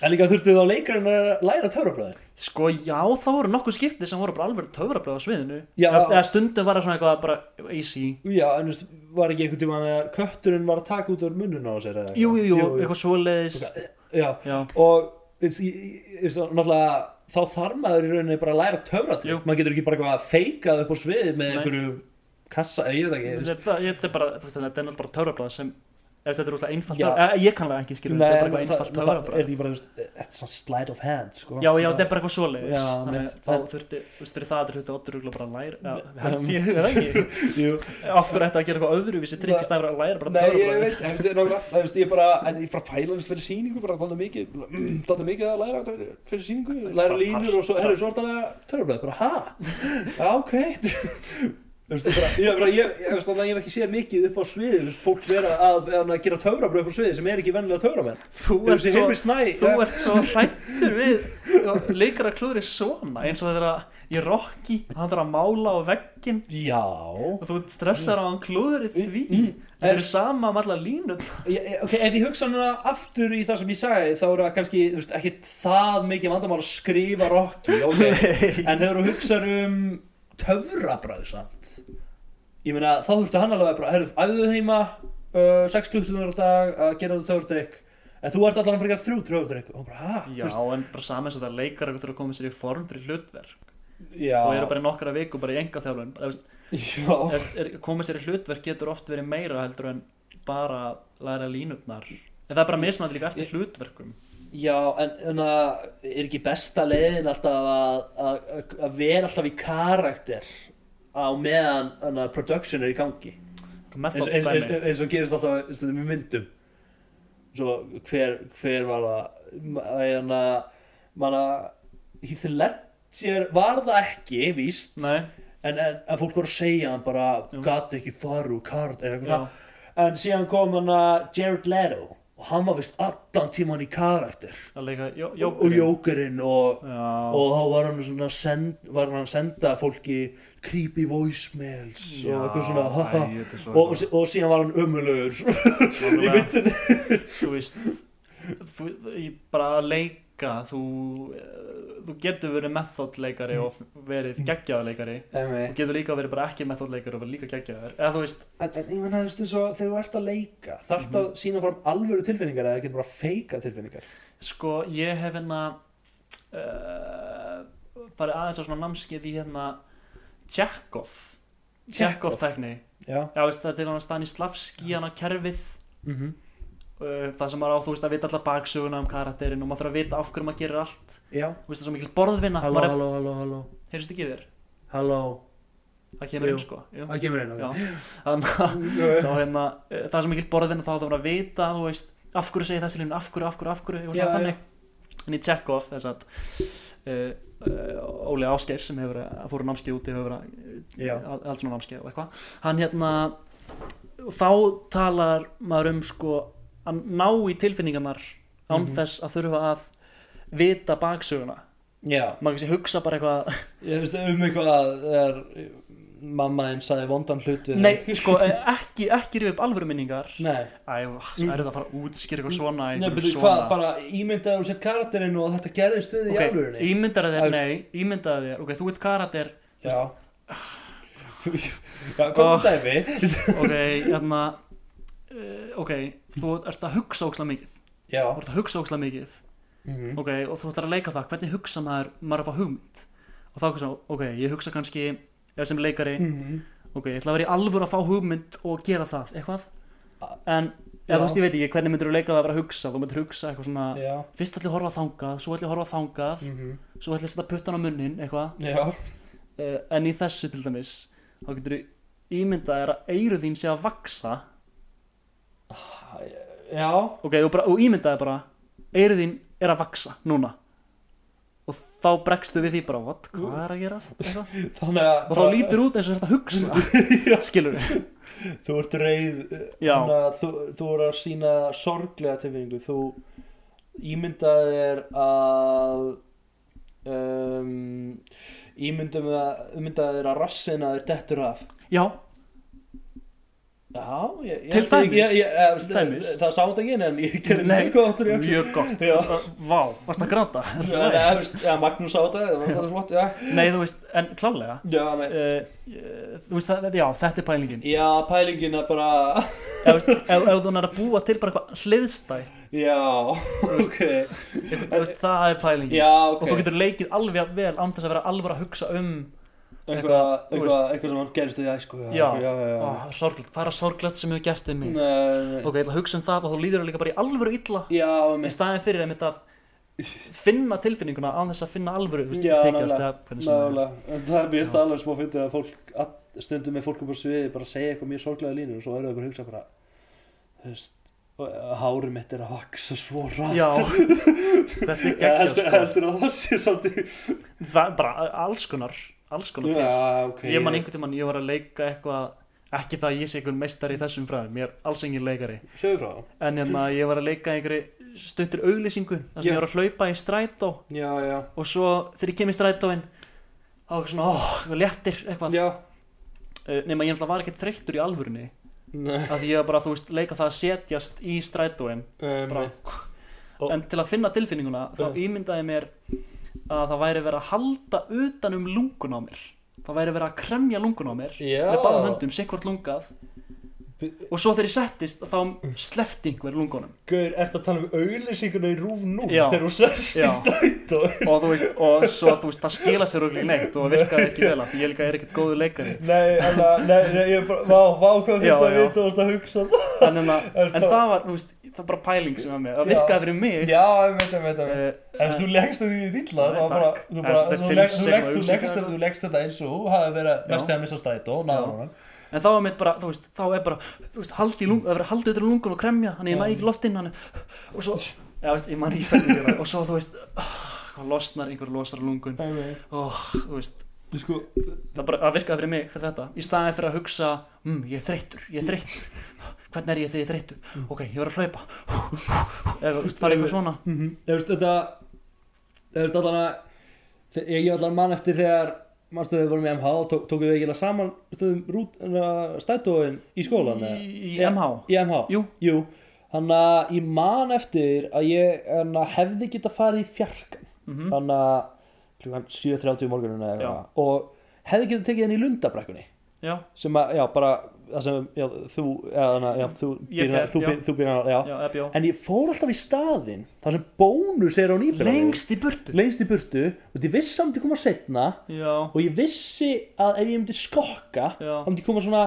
D: En líka þurftu þá leikarinn að læra töfrablöðin
C: sko, já, það voru nokkuð skipti sem voru bara alveg töfrabröð á sviðinu.
D: Já.
C: Eða stundum var það svona eitthvað bara easy.
D: Já, en þú veist, var ekki einhvern tímann að kötturinn var að taka út úr munnun á sér eða eitthvað?
C: Jú, jú, jú, eitthvað svoleiðis.
D: Já,
C: Já,
D: og þú veist, ég- ég- þú veist, náttúrulega þá þarf maður í rauninni bara að læra
C: Jú.
D: töfratrygg Maður getur ekki bara eitthvað að feikað upp á sviði með
C: Nei.
D: einhverju kassa, eða ég veit ekki þú veist.
C: þetta þetta er bara, þú veist, þetta er náttúrulega bara töfrabröð sem, ef þetta er rústlega einfalt,
D: Já.
C: Eh, ég kannlega ekki skilja, þetta er
D: en
C: bara eitthvað einfalt
D: það, það er
C: töfrabröð.
D: því bara, þú veist, eh, þetta er svona slide of hand, sko
C: Já, já, þetta er bara eitthvað svoleiðis
D: Já,
C: Þannig
D: mitt.
C: að þá þurfti, þú veist, fyrir það að þurfti Oddur Rugla bara að læra Já, held ég, er það ekki
D: Jú.
C: Af hverju ætti að gera eitthvað öðruvísi trygg í stæður að læra bara
D: Nei, ég
C: töfrabröð?
D: veit, en þú veist, nákvæmlega, þú veist, ég bara, en ég fara að pæla þess fyrir sýningu, bara dálta mikið, dálta mikið að læra þetta fyrir sýningu, læra
C: Bara
D: línur og svo,
C: parst-
D: herru, svo ertu að læra törnblöð, bara, ha? Já, ok, þú veist, þú bara, ég, bara, ég, ég, veist, þannig að ég hef ekki séð mikið upp á sviði, þú veist, fólk vera að, að, að gera töfrabröð upp á sviði sem er ekki vennilega töframenn.
C: Þú
D: Þú
C: ert
D: veist,
C: svo,
D: Hilmi Snæ,
C: þú ert svo hrættur við Leikar að klúðri svona Eins og þeirra í Rocky Hann þarf að mála á veggin
D: já,
C: Og þú stressar á hann klúðri því
D: Mm,
C: Þetta eru sama um alla línur
D: Ég- ég- Ok, ef ég hugsa hana aftur í það sem ég sagði þá eru það kannski, þú veist, ekki það mikið vandamál að skrifa Rocky ok, en þegar þú hugsa um töfrabröð samt ég meina, þá þurftu hann alveg bara, herru, æfðu heima uh, 6 klukkstundur á dag að gera þú töfradrykk en þú ert allan frekar þrjú töfradrykk og hún bara, hæ,
C: Já, en bara sama eins og það leikar að þurfa að koma sér í form fyrir hlutverk
D: já,
C: Og eru bara í nokkra viku bara í enga þjálfun
D: já,
C: Þú veist, er- koma sér í hlutverk getur oft verið meira heldur en bara að læra línutnar en það er bara mismætt líka eftir hlutverkum
D: já, en, en að, er ekki besta leiðin alltaf að, að, að- að vera alltaf í karakter á meðan hana, production er í gangi eins,
C: method
D: eins, eins,
C: dæmi
D: eins og gerist alltaf stundum í myndum svo hver, hver var það Ma- hérna manna Heath Ledger var það ekki víst en,
C: nei,
D: en, en fólk voru að segja hann bara gati ekki faru kart eða
C: já,
D: eitthvað svona en síðan kom hann að Jared Leto og hann var vist allan tíman í karakter
C: að leika jó, jó,
D: og jókerinn og
C: já,
D: og þá var hann svona send, var hann að senda fólki creepy voicemails og eitthvað svona
C: æ,
D: haha
C: þetta er svo
D: og, og, sí- og síðan var hann ömulugur í
C: Nákvæmlega.
D: myndinni
C: þú veist þú, ég bara að leika þú, eh, þú getur verið method leikari og
D: Mm.
C: verið geggjaður leikari
D: en,
C: þú getur líka verið bara ekki method leikari og verið líka geggjaður eða þú veist,
D: en ég menna þú veist eins og þegar þú ert að leika þarf það að sína fram alvöru tilfinningar eða getur bara að feika tilfinningar
C: sko ég hef hérna uh, farið aðeins á svona námskeið í hérna Tjekov Tjekov tækni
D: já
C: Já, veist, það er til hann Stanislavski hann að kerfið
D: mm -hmm.
C: uh, það sem maður á, þú veist, að vita alltaf baksöguna um karakterinn og maður þarf að vita af hverju maður gerir allt
D: já
C: þú veist, það er svo mikil borðvinna
D: halló,
C: maður er,
D: halló, halló, halló
C: heyrðist ekki í þér,
D: halló
C: það kemur
D: Jú.
C: inn sko Jú.
D: það kemur einn
C: Já, þannig að
D: ok
C: þá hérna, uh, það er svo mikil borðvinna þá þarf maður að vita, þú veist, af hverju segir þessi línu af hverju, af hverju, af hverju, eitthvað
D: Já,
C: svona
D: já.
C: þannig en í Tjekov, þess að uh, uh, Óli Ásgeir sem hefur verið- fór á námskeið úti hefur verið að
D: já
C: al- alls svona námskeið og eitthvað hann hérna þá talar maður um sko að ná í tilfinningarnar án
D: Mhm.
C: þess að þurfa að vita baksöguna
D: já
C: maður kannski hugsa bara eitthvað
D: ég veist um eitthvað þegar mamma einn sagði vondan hlut við
C: nei,
D: þig.
C: sko, eh, ekki, ekki rifja upp alvöru minningar æ,
D: nei
C: það er það að fara að útskýra eitthvað
D: Mm.
C: svona,
D: Nei,
C: eitthvað
D: betur hvað, bara ímyndaðu sér karakterinn og þetta gerðist við í
C: ok,
D: alvörunni
C: ímyndaðu
D: Það
C: þér,
D: er-
C: nei, ímyndaðu þér ok, þú veit karakter,
D: Já Já, Ah. komum
C: Oh.
D: dæmi
C: ok, hérna eh, ok, þú ert að hugsa óksla mikið,
D: Já
C: þú ert að hugsa óksla mikið
D: Mhm.
C: ok, og þú ætlar að leika það hvernig hugsa maður, maður að fá hugmynd og þá ekki svo, ok, ég hugsa kannski eða sem leikari,
D: Mhm.
C: ok, ég ætla að vera í alvöru að fá hugmynd og gera það, eitthvað en,
D: Já.
C: eða þú veist, ég veit ekki, hvernig myndir þú leika það að vera að hugsa, þú myndir hugsa eitthvað svona
D: Já.
C: fyrst ætlum ég að horfa þangað, svo ætlum ég að horfa þangað
D: Mhm.
C: svo ætlum ég að setja puttan á munnin, eitthvað
D: Já.
C: uh, en í þessu til dæmis þá getur þú ímyndað þér að eyru þín sé að vaksa
D: Já.
C: ok, og, bara, og ímyndaði bara eyru þín er að vaksa núna og þá bregstu við því bara what, hvað er að gerast Eitthvað.
D: Þannig að
C: og þá lítur út eins og þetta hugsa skilur við
D: Þú ert reið eh,
C: Já.
D: þannig að þú, þú ert að sína sorglega tilfinningu Þú ímyndaði þér að um, Ímyndaði þér að rassina þér dettur af
C: já,
D: Já, ég, ég
C: Til
D: held ekki-
C: dæmis.
D: ég, ég, ég,
C: Til dæmis.
D: Það, það sátt ekki inn en ég gerði
C: Nei.
D: mjög gott úr jöksu.
C: mjög gott
D: Já.
C: vá, varst að gráta Er
D: Já,
C: það
D: nei,
C: læg?
D: þú veist, Já, Magnús sátt að það var flott Já,
C: nei, þú veist, en klálega
D: já, meitt
C: uh, þú veist, það, já, þetta er pælingin
D: Já, pælingin að bara
C: ef, veist, ef, ef þú nær að búa til bara eitthvað hliðstætt
D: Já, ok
C: þú veist, það er pælingin
D: Já, ok
C: og þú getur leikið alveg jafn vel án þess að vera alveg að hugsa um
D: eitthvað,
C: eitthvað, þú
D: eitthvað, eitthvað sem gerist í æsku
C: Já.
D: já, já, já.
C: oh, sorglegt, hvað er að sorglegast sem hefur gert við mig
D: Nei,
C: ok, ég ætla að hugsa um það og þú líður þér líka bara í alvöru illa
D: nei. já
C: í
D: mitt
C: staðin fyrir einmitt að finna tilfinninguna án þess að finna alvöru þú veist,
D: Já,
C: þykjast
D: nálega,
C: eða hvernig sem það er
D: Nálega, en það er mjög
C: Já.
D: staðlega smá fyndið að fólk all- stundum með fólk upp á sviði bara að segja eitthvað mjög sorglega línur og svo eru þau bara að hugsa bara þú veist, hári mitt er að vaksa svo rætt
C: já, þetta er geggjað
D: heldur,
C: sko.
D: heldur að það sé svolítið
C: það er bara alls konar alls konar til
D: Já, ok
C: ég man einhvern tímann, ég var að leika eitthvað ekki það að ég sé einhvern meistari í þessum fræðum ég er alls engin leikari
D: Segðu frá það
C: en hérna, ég var að leika einhverju stuttur auglýsingu þar
D: Já.
C: sem ég var að hlaupa í strætó
D: Já, já
C: og svo þegar ég kem í strætóin þá var ég svona, óh, oh, léttir eitthvað
D: Já
C: uh, nema ég náttúrulega var ekkert þreyttur í alvörunni
D: Nei,
C: að ég var bara, þú veist, leika það að setjast í strætóin bara,
D: Og-
C: en til að finna tilfinninguna þá
D: Já.
C: ímyndaði ég mér að það væri verið að halda utan um lungun á mér það væri verið að kremja lungun á mér
D: Já.
C: með báðum höndum, sikkvort lungað og svo þegar ég settist þá slefti einhver lungunum
D: Gaur, ertu að tala um auðlýsinguna í rúf nú
C: Já.
D: þegar þú sest í
C: Já.
D: strætó
C: og þú veist, og svo þú veist, það skila sér auðvitað neitt og það virkaði ekki vel að því ég líka er ekkert góður leikari
D: Nei, alla, nei, nei, ég bara, vá, vá, hvað
C: Já,
D: fyrir að
C: já.
D: vita og að hugsa um það
C: en, en,
D: En
C: en
D: það-
C: það var, þú veist, það var bara pæling sem var með, það
D: Já.
C: virkaði fyrir mig
D: Já, ég veit, ég veit, ég veit
C: Eh,
D: Ef þú leggst þetta í dilla,
C: Nei,
D: þá bara,
C: takk.
D: þú
C: En
D: bara,
C: þetta
D: þú
C: finnst
D: leggst- þú
C: sem
D: leggst-
C: að
D: þú leggst
C: hugsa ekki.
D: þetta, þú leggst þetta eins og hafi verið
C: Já.
D: næstu að missa strætó, náður
C: Já.
D: honum
C: en það var mitt bara, þú veist, þá er bara þú veist, haldi, í lung, það er verið haldið utan um lungun og kremja hann er
D: Já.
C: næg ekki loftinn hann og svo, já, veist, ég man ekki hvernig ég gera það. og svo, þú veist, ah, losnar einhver losar lungun og, þú veist,
D: Ég sko,
C: það bara það virkaði fyrir mig fyrir þetta, í staðið fyrir að hugsa mm, ég er þreyttur, ég er þreyttur hvernig er ég þegar ég er
D: Mm.
C: þreyttur, ok, ég var að hlaupa eða, þú veist, það er eitthvað svona
D: Þú veist þetta Þú veist allan að þe- Ég ég allan mann eftir þegar Manstu þegar við vorum í MH og tók, tókum við ekki alveg saman stöðum rút, uh, stættóin í skólan eða?
C: í, í MH,
D: Í MH
C: jú,
D: Jú Þannig að ég man eftir að ég hana, hefði geta farið í fjarkan
C: Mhm.
D: Þannig að klukkan 7.30 morgununa eða
C: Já.
D: eitthvað Og hefði geta tekið henni í lundabrekkunni
C: já,
D: Sem að, já, bara Það sem, já, þú eða, hana, já, Þú
C: Ég
D: býrna,
C: fer,
D: þú,
C: já.
D: býr- þú býrna, já.
C: já, eða bjó
D: En ég fór alltaf í staðinn þar sem bónus er á nýbyrðan
C: lengst í burtu
D: Lengst í burtu Og ég vissi að hann myndi koma setna
C: já,
D: Og ég vissi að ef ég myndi skokka
C: Já.
D: Þá myndi koma svona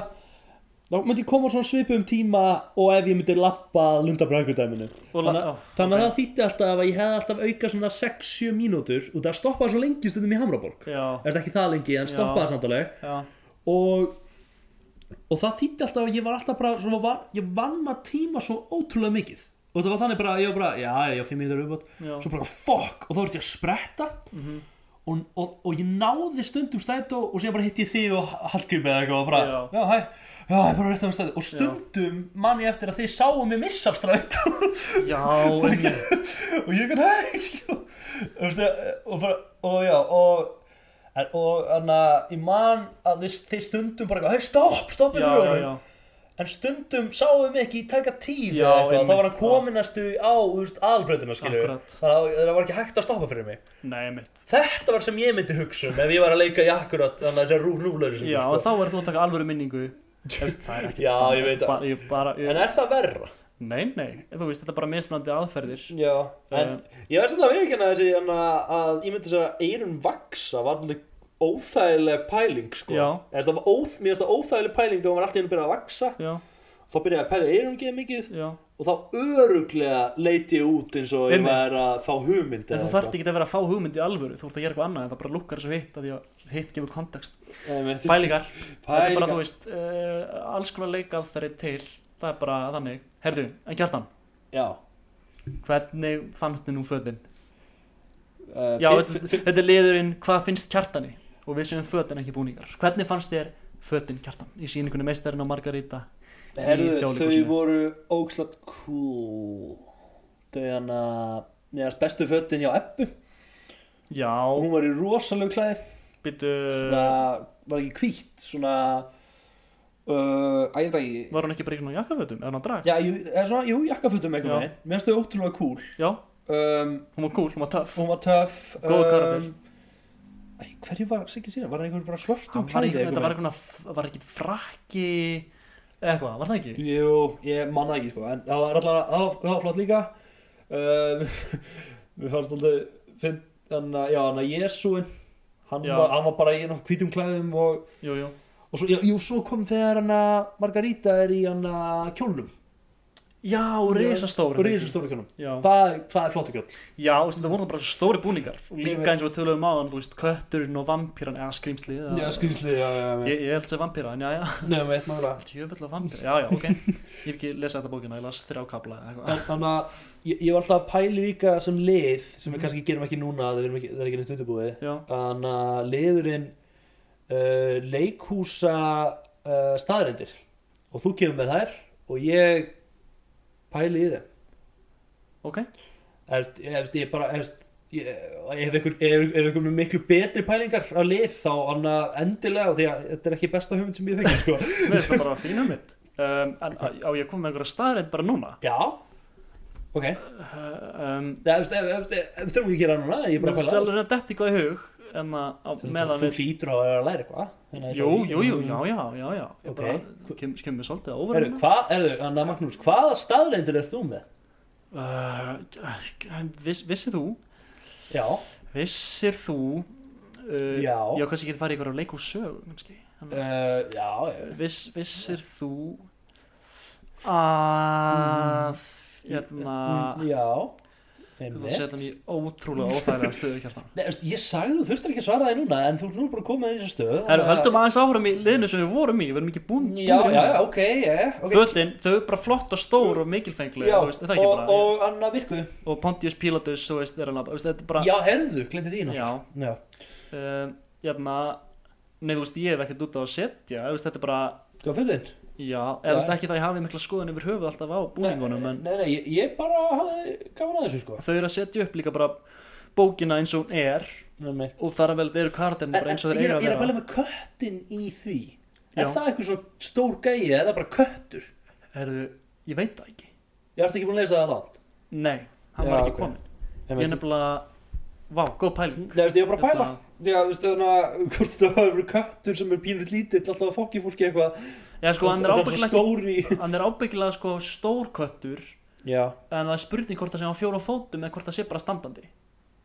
D: Þá myndi koma svona svipu um tíma Og ef ég myndi lappa lundabrækudæminu
C: Og la-
D: Þannig,
C: já,
D: að- þannig að
C: ok.
D: það þýtti alltaf að ég hefði alltaf auka svona 6-7 mínútur Og það stoppaði svo lengi stundum í Hamraborg
C: já,
D: Er ekki það lengi en
C: Já.
D: stoppaði samt alveg
C: já
D: og og það þýtti alltaf að ég var alltaf bara svona, var, ég vann að tíma svo ótrúlega mikið og það var þannig bara, ég var bara, já, já, já, fimm mínútur uppátt
C: Já. Mhm.
D: svo bara, fuck, og þá vart ég að spretta og, og, og ég náði stundum stætó og síðan bara hitti ég þig og Hallgrim eða eitthvað og bara,
C: Já.
D: já, hæ, já, ég er bara rétt á stætó og stundum man ég eftir að þið sáum mig missa af strætó
C: Já,
D: Bara
C: einmitt.
D: ekki- og ég kann hægt og, eh, og bara og já og en- og þannig að ég man að þið, þið stundum bara eitthvað, hei stopp, stopp
C: já, já, já,
D: en stundum sáum við ekki í tæka tíð
C: Já,
D: eða eitthvað, þá var hann
C: einmitt,
D: kominastu á úst, aðalbröðuna skilur
C: Akkurat.
D: þannig að það var ekki hægt að stoppa fyrir mig
C: nei, mitt
D: þetta var sem ég myndi hugsa um ef ég var að leika í akkurat þannig að þetta er rúf núflöður
C: Já, en þá er þú að taka alvöru minningu Efst, Það er ekki
D: sko. Já, ég veit að-
C: bara, ég bara, ég,
D: en er það verra?
C: Nei, nei, þú veist, þetta er bara mismunandi aðferðir
D: Já, en
C: Eh.
D: ég verð svolítið að viðkynna þessi en að, að ég myndi segja að eyrun vaksa var alveg óþægileg pæling sko
C: Já.
D: Eða, þess, það var óþ, mér finnst það óþægileg pæling þegar hún var alltaf einu byrjað að vaksa
C: já,
D: þá byrjaði að pæla erum ekki mikið
C: já
D: og þá öruglega leiti ég út eins og ég
C: Einmitt.
D: var að fá hugmynd
C: En þú þarft ekki að vera að fá hugmynd í alvöru Þú ert að gera eitthvað annað en það bara lukkar þessu hitt af Því að hitt gefur kontekst
D: ekki
C: Pælingar, þetta er bara
D: Pælingar.
C: þú veist uh, Alls konar leikað þeirri til Það er bara þannig Herðu, en Kjartan,
D: já
C: hvernig fannst þið nú fötin?
D: Uh,
C: Já,
D: fyr-
C: þetta, þetta er liðurinn Hvað finnst Kjartani? Og við séum fötin ekki búningar Hvernig fannst þér fötin Kjartan? Í síningunni meistarinn og Margarita í
D: Herðu, þau
C: Þjóðleikhúsinu?
D: voru ógslátt cool Þau hann að Mér varst bestu fötin hjá Ebbu
C: Já,
D: Hún var í rosalegu klæðir
C: byttu
D: Svona, var ekki hvítt Svona uh, Æ, ég veit ekki
C: Var hún ekki bara í svona jakkafötum? Er hún að drag?
D: Já, jú, eða svona, jú jakkafutum
C: Já.
D: eitthvað með Mér varst þau ótrúlega cool
C: Já,
D: um,
C: hún var cool, hún var töff
D: Hún var töff um,
C: Góður karakter.
D: Æ, hverju var Siggi sína? Var hann einhver bara
C: Hann
D: svartum
C: var
D: klæði
C: einhvern þetta var eitthvað var ekki frakki eða eitthvað, var það ekki?
D: Jú, ég manna ekki sko En það var allavega, það var- það var flott líka um, Mér fannst alltaf finn, en, að- Já, hann að Jésuin hann,
C: Já.
D: var- hann var bara í hann hvítum klæðum og,
C: Jú, jú,
D: og svo, já, jú, svo kom þegar hann að Margarita er í hann að kjólnum
C: já, risastóri
D: Og risastóru kjólnum
C: Já,
D: Það, það er flott kjól
C: já og þetta voru það bara svo stóri búningar og
D: Ég veit.
C: líka eins og við töluðum á hann, þú veist, kötturinn og vampýran eða skrýmsli eða-
D: skrýsli, já, já,
C: Ég, ég held sér vampýra, en já, já,
D: Nei, með eitt maður að
C: tjöfull af vampýra, já, já, ok Ég hef ekki lesað þetta bókina, ég las þrjá kapla eða eitthvað
D: En þannig að ég, ég var alltaf að pæli líka sem lið sem við
C: Mhm.
D: kannski gerum ekki núna það, ekki, það er ekki neitt undirbúið
C: Já,
D: þannig að liðurinn uh, leikhúsa uh, staðrendir og þú kemur með þær og ég pæli í þeim
C: ok,
D: efst, efst, ég bara efst, ég, ef ykkur, ef, ef ykkur með miklu betri pælingar á lið þá annað endilega því að þetta er ekki besta hugmynd sem ég fengi sko.
C: við erum bara fínum mitt um, En á á ég kom með einhverja staðreind bara núna
D: já ok
C: Uh, um,
D: Nei, efst, efst, efst, efst, þurfum ekki að gera núna ég er
C: Mér
D: bara að
C: er
D: pæla
C: alveg að detti eitthvað í hug en að á meðan
D: þú hlýtur á að vera að læra eitthvað Þannig að
C: Jú,
D: ég- "Mm,
C: jú, jú, já, já, já, já Ég
D: Ok.
C: bara kem, kemur svolítið á
D: Heyrðu,
C: óverðinu
D: hvað, heyrðu, Anna Magnús, hvaða staðreindir er þú með?
C: uh, viss, Vissir þú
D: Já,
C: Vissir þú uh,
D: Já.
C: Já, kannski getur farið í eitthvað á leikhús sög kannski Þannig að-
D: uh, já, já.
C: Viss, Vissir þú að hérna
D: Mm, já.
C: Þú
D: Einmitt.
C: setja hann í ótrúlega óþægilega stöðu kjartan
D: Nei, veist, ég sagði þú þurftir ekki að svara það núna en þú ert nú bara að koma inn í þessu stöð
C: Herru, höldum aðeins áfram í liðinu sem við vorum í Við erum ekki búin hérna.
D: Já, já, já, ok, yeah, ok
C: Fötin, þau eru bara flott og stór og mikilfengli
D: já,
C: þú veist, er það ekki
D: og,
C: bara,
D: og Anna Virku
C: og, Pontius Pilatus þú veist, er hann að, þú veist, þetta er bara
D: Já, herðu, glemdi þín
C: já
D: hérna. já.
C: um, jæfna, nei, þú veist, ég hef ekkert út á að setja, þú veist, þetta er bara
D: Hvað fyrir þinn?
C: já, eða þú
D: Já.
C: veist, ekki það ég hafi mikla skoðun yfir höfuð alltaf á búningunum, en
D: Nei, nei, ég, ég bara hafði gaman að þessu sko
C: þau eru að setja upp líka bara bókina eins og hún er
D: Nei,
C: og þar að vel, þeir eru kardinni bara eins og
D: ég,
C: þeir
D: er- ég
C: eiga
D: er
C: að
D: að
C: vera
D: pæla með köttin í því
C: Já.
D: Er það eitthvað svona stór gæi eða er það bara köttur?
C: herðu, ég veit það ekki
D: Ég ætti ekki búin að lesa það langt
C: nei, hann
D: Já,
C: var ekki
D: ok.
C: kominn ég er nefnilega, vá, góð pæling
D: Nei, veistu, ég var bara að pæla
C: Hérna-
D: Já, veistu, þannig að hvort þetta hafa verið köttur sem er pínur lítill alltaf að fokki fólki eitthvað
C: já, sko, hann er
D: Þetta
C: ábyggilega
D: svo
C: ekki-
D: stór í
C: hann er ábyggilega sko, stórköttur
D: Já,
C: en það er spurning hvort það sé á fjóra fótum eða hvort það sé bara standandi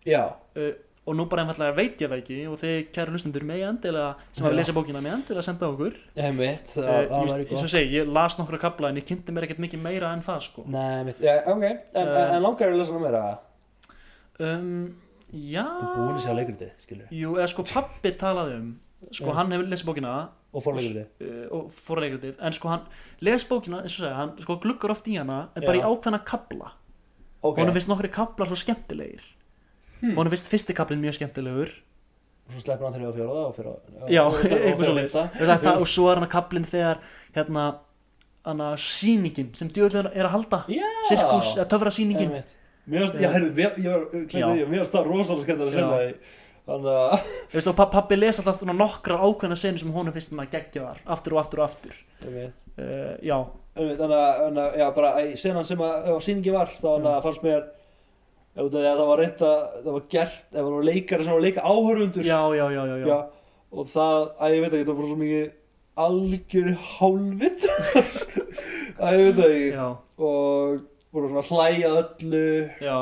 D: já,
C: uh, og nú bara einfallega veit ég það ekki og þið kæru hlustendur með endilega sem
D: Já.
C: hafa lesið bókina með endilega senda okkur uh,
D: einmitt það- það
C: ég,
D: væri
C: veist, eins
D: gott.
C: og segi, ég las nokkra kapla en ég kynnti mér ekkert mikið meira en það sko
D: Nei, einmitt, já, ok En, en,
C: Eh.
D: en langar er að lesa hana meira
C: um, já
D: Búin að segja leikritið, skilur
C: jú, eða sko pappi talaði um sko
D: Já.
C: hann hefur lesið bókina uh,
D: Og fórleikritið
C: og fór leikritið en sko hann les bókina, eins og segja, hann sko gluggar oft í hana en bara
D: Já.
C: í ákveðna kapla
D: Ok,
C: okay. honum finnst nokkri kaplar svo skemmtilegir hmm. honum finnst fyrsti kaplinn mjög skemmtilegur
D: svo sleppur hann þrjá fjóra og fjóra
C: Já,
D: og- og- og-
C: eitthvað
D: og-
C: svoleiðis.
D: og-
C: það, er það, og svo er hann að kaplinn þegar hérna, hana, sýningin sem djöðlega er að halda
D: Já,
C: sirkus, eða töfra sýningin
D: einmitt Mér varst, já, heyrðu, ég- ég var, glemdi því, mér varst það rosalega skemmt að
C: Já.
D: segja það í- Þannig að,
C: veist, og pa- pabbi les alltaf svona nokkra ákveðna senu sem honum finnst hann að gegja þar aftur og aftur og aftur
D: einmitt
C: uh, já,
D: Einmitt, Þannig að, þannig að, já, bara í senan sem að, ef að síningi var, þá þannig að fannst mér ef út af því að það var reynd að, það var gert, ef það var leikari sem var að leika áhörfundur
C: já, já, já, já, já.
D: já, og það, að ég veit ekki, það var bara svo mikið algjör hálfitt að ég veit það ekki
C: já,
D: og voru svona að hlæja öllu
C: já,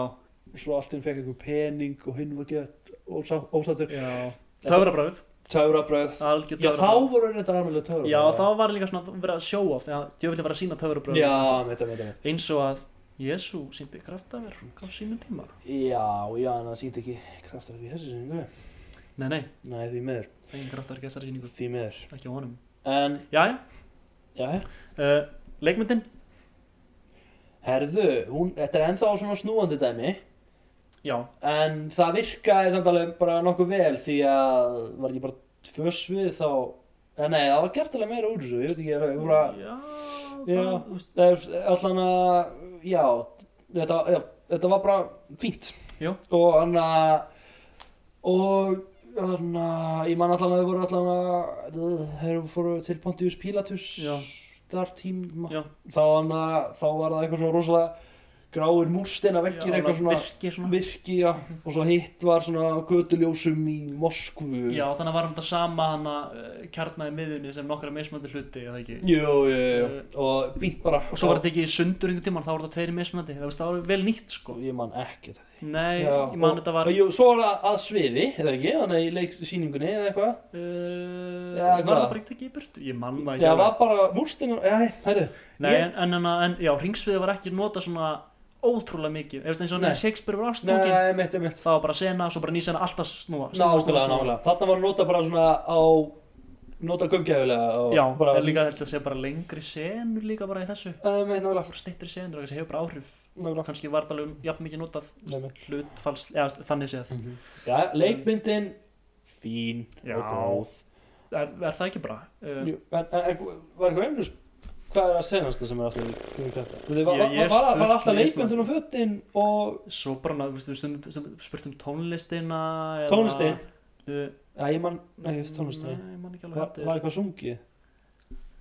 D: og svo allt inn fekk einhver pening og hinn var gett og sá, ósattur
C: já. töfrabræð
D: töfrabröð
C: algjör
D: já þá
C: töfrabrögð.
D: voru þetta alveg töfrabröð
C: já, þá var líka svona verið að sjó of þegar djöfnir var að sína töfrabröð
D: já, með þetta, með þetta
C: eins og að Jésu síndi kraftaverk á sínum tíma
D: já, já, en það sýndi ekki kraftverk í þessu sinningu
C: nei, nei,
D: nei, því meður,
C: eigin kraftaverk í þessari síningu
D: því meður
C: ekki á honum
D: en,
C: Jæja,
D: já,
C: uh, leikmyndin
D: herðu hún, þetta er ennþá svona snúandi dæmi
C: já,
D: en það virkaði samt alveg bara nokkuð vel því að var ekki bara tvö svið þá eða nei, það var gert alveg meira úr þessu ég veit ekki, ég bara
C: já,
D: Já.
C: það, þú veist,
D: allan að já, þetta, já, þetta var bara fínt
C: Já.
D: og hann að og hann að ég man allan að þau voru allan að þeir fóru til Pontius Pilatus
C: Já.
D: þar tíma
C: Já.
D: þá hann að þá var það eitthvað svona rosalega gráir múrstina vekkir
C: já, Mhm.
D: eitthvað svona
C: virki svona
D: virki já. og svo hitt var svona göduljósum í Moskvu
C: Já, þannig var um þetta sama hana uh, kjarnaði miðunni sem nokkra mismöndi hluti, eða ekki?
D: jú, jú, jú, og fínt bara
C: Og svo var þetta ekki í sundur einhvern tímann, þá voru þetta tveiri mismöndi, það veist, það var vel nýtt, sko.
D: ég man ekki þetta
C: Nei,
D: Já,
C: ég man
D: og-
C: þetta var,
D: og
C: uh,
D: jú, svo var það að sviði, eða ekki, þannig í leiksýningunni eða eitthvað Já,
C: uh, var
D: hvað?
C: það bara ekki í burtu? Ég man það ekki.
D: Já, það
C: alveg.
D: var bara múrstinn Já, hættu
C: Nei,
D: ég-
C: en, en, en, en, já, ringsviði var ekki nota svona ótrúlega mikið, eða eins og
D: Nei.
C: hann Shakespeare var ástungin,
D: Nei, mitt, mitt
C: það var bara sena, svo bara ný sena alltaf snúa. snúa, snúa,
D: Nákvæmlega,
C: snúa.
D: nákvæmlega Þarna var nota bara svona á Nota gömgæfilega og
C: Já,
D: bara,
C: en líka þetta sé bara lengri senur líka bara í þessu.
D: Nei, mitt, nákvæmlega
C: Bara stittri senur, það hefur bara áhrif.
D: Nákvæmlega
C: Kannski var það alveg jafn mikið notað
D: Nei, mitt.
C: hlutfalls, eða þannig séð.
D: Já, leikmyndin Fín
C: Já.
D: og góð
C: er, er það ekki bara um,
D: Jú, En en- en var eitthvað einhvers Hvað er að senast það sem er aftur í kjönda? Var, var,
C: Ég- ég er
D: var, var, var
C: spurt
D: alltaf
C: með
D: leikmyndin og fötin og
C: svo bara, na- þú veist, við stundum, stundum spurt um tónlistina eða- Uh,
D: Tónlistin?
C: Þú-
D: Já, ég man, nei, tónlistin
C: Nei, ég man ekki alveg
D: Var,
C: hættu
D: var eitthvað sungið?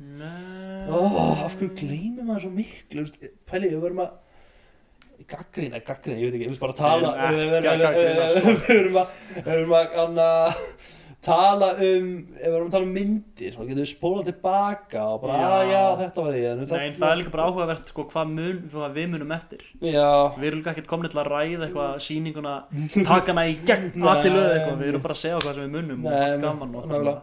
C: Nei
D: oh, af hverju gleymir maður svo miklu þú veist, pæli, við verum að gaggrina, gaggrina, ég veit ekki, við verum bara að tala um-
C: Við
D: við
C: erum ekki að gagnrýna, sko.
D: verum- við verum að við verum að anna, tala um við verum að tala um myndir, þá getum við spólað tilbaka og bara, "Ah,
C: Já.
D: já, já, þetta var því en við
C: Nei, en það er líka bara áhugavert sko, hvað, mun, hvað við munum eftir
D: já,
C: Við erum líka ekkert komin til að ræða eitthvað sýninguna takana í gegn
D: Nei.
C: aðilu eða eitthvað Við erum bara að segja hvað sem við munum og
D: Nei,
C: fast gaman og eitthvað
D: nákvæmlega.
C: svona.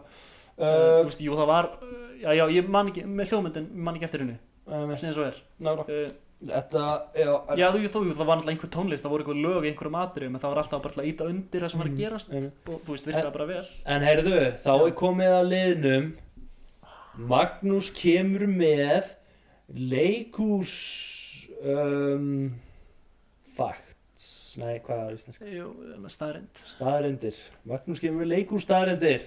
C: Uh, Þú
D: uh,
C: veist, jú, það var uh, Já, já, ég man ekki, með hljóðmyndin man ekki eftir henni
D: um,
C: Snið svo er
D: nála,
C: uh,
D: þetta já,
C: Já, þú, þú, það var alltaf einhver tónlist, það voru einhver lög í einhverjum atriðum en það var alltaf bara til að íta undir það sem var að
D: Mm,
C: gerast
D: einmitt.
C: og þú veist, virkaði bara vel
D: en heyrðu, þá er komið að liðnum Magnús kemur með leikús um, facts nei, hvað er íslensk?
C: Jú, staðrind
D: staðarendir, Magnús kemur með leikús staðarendir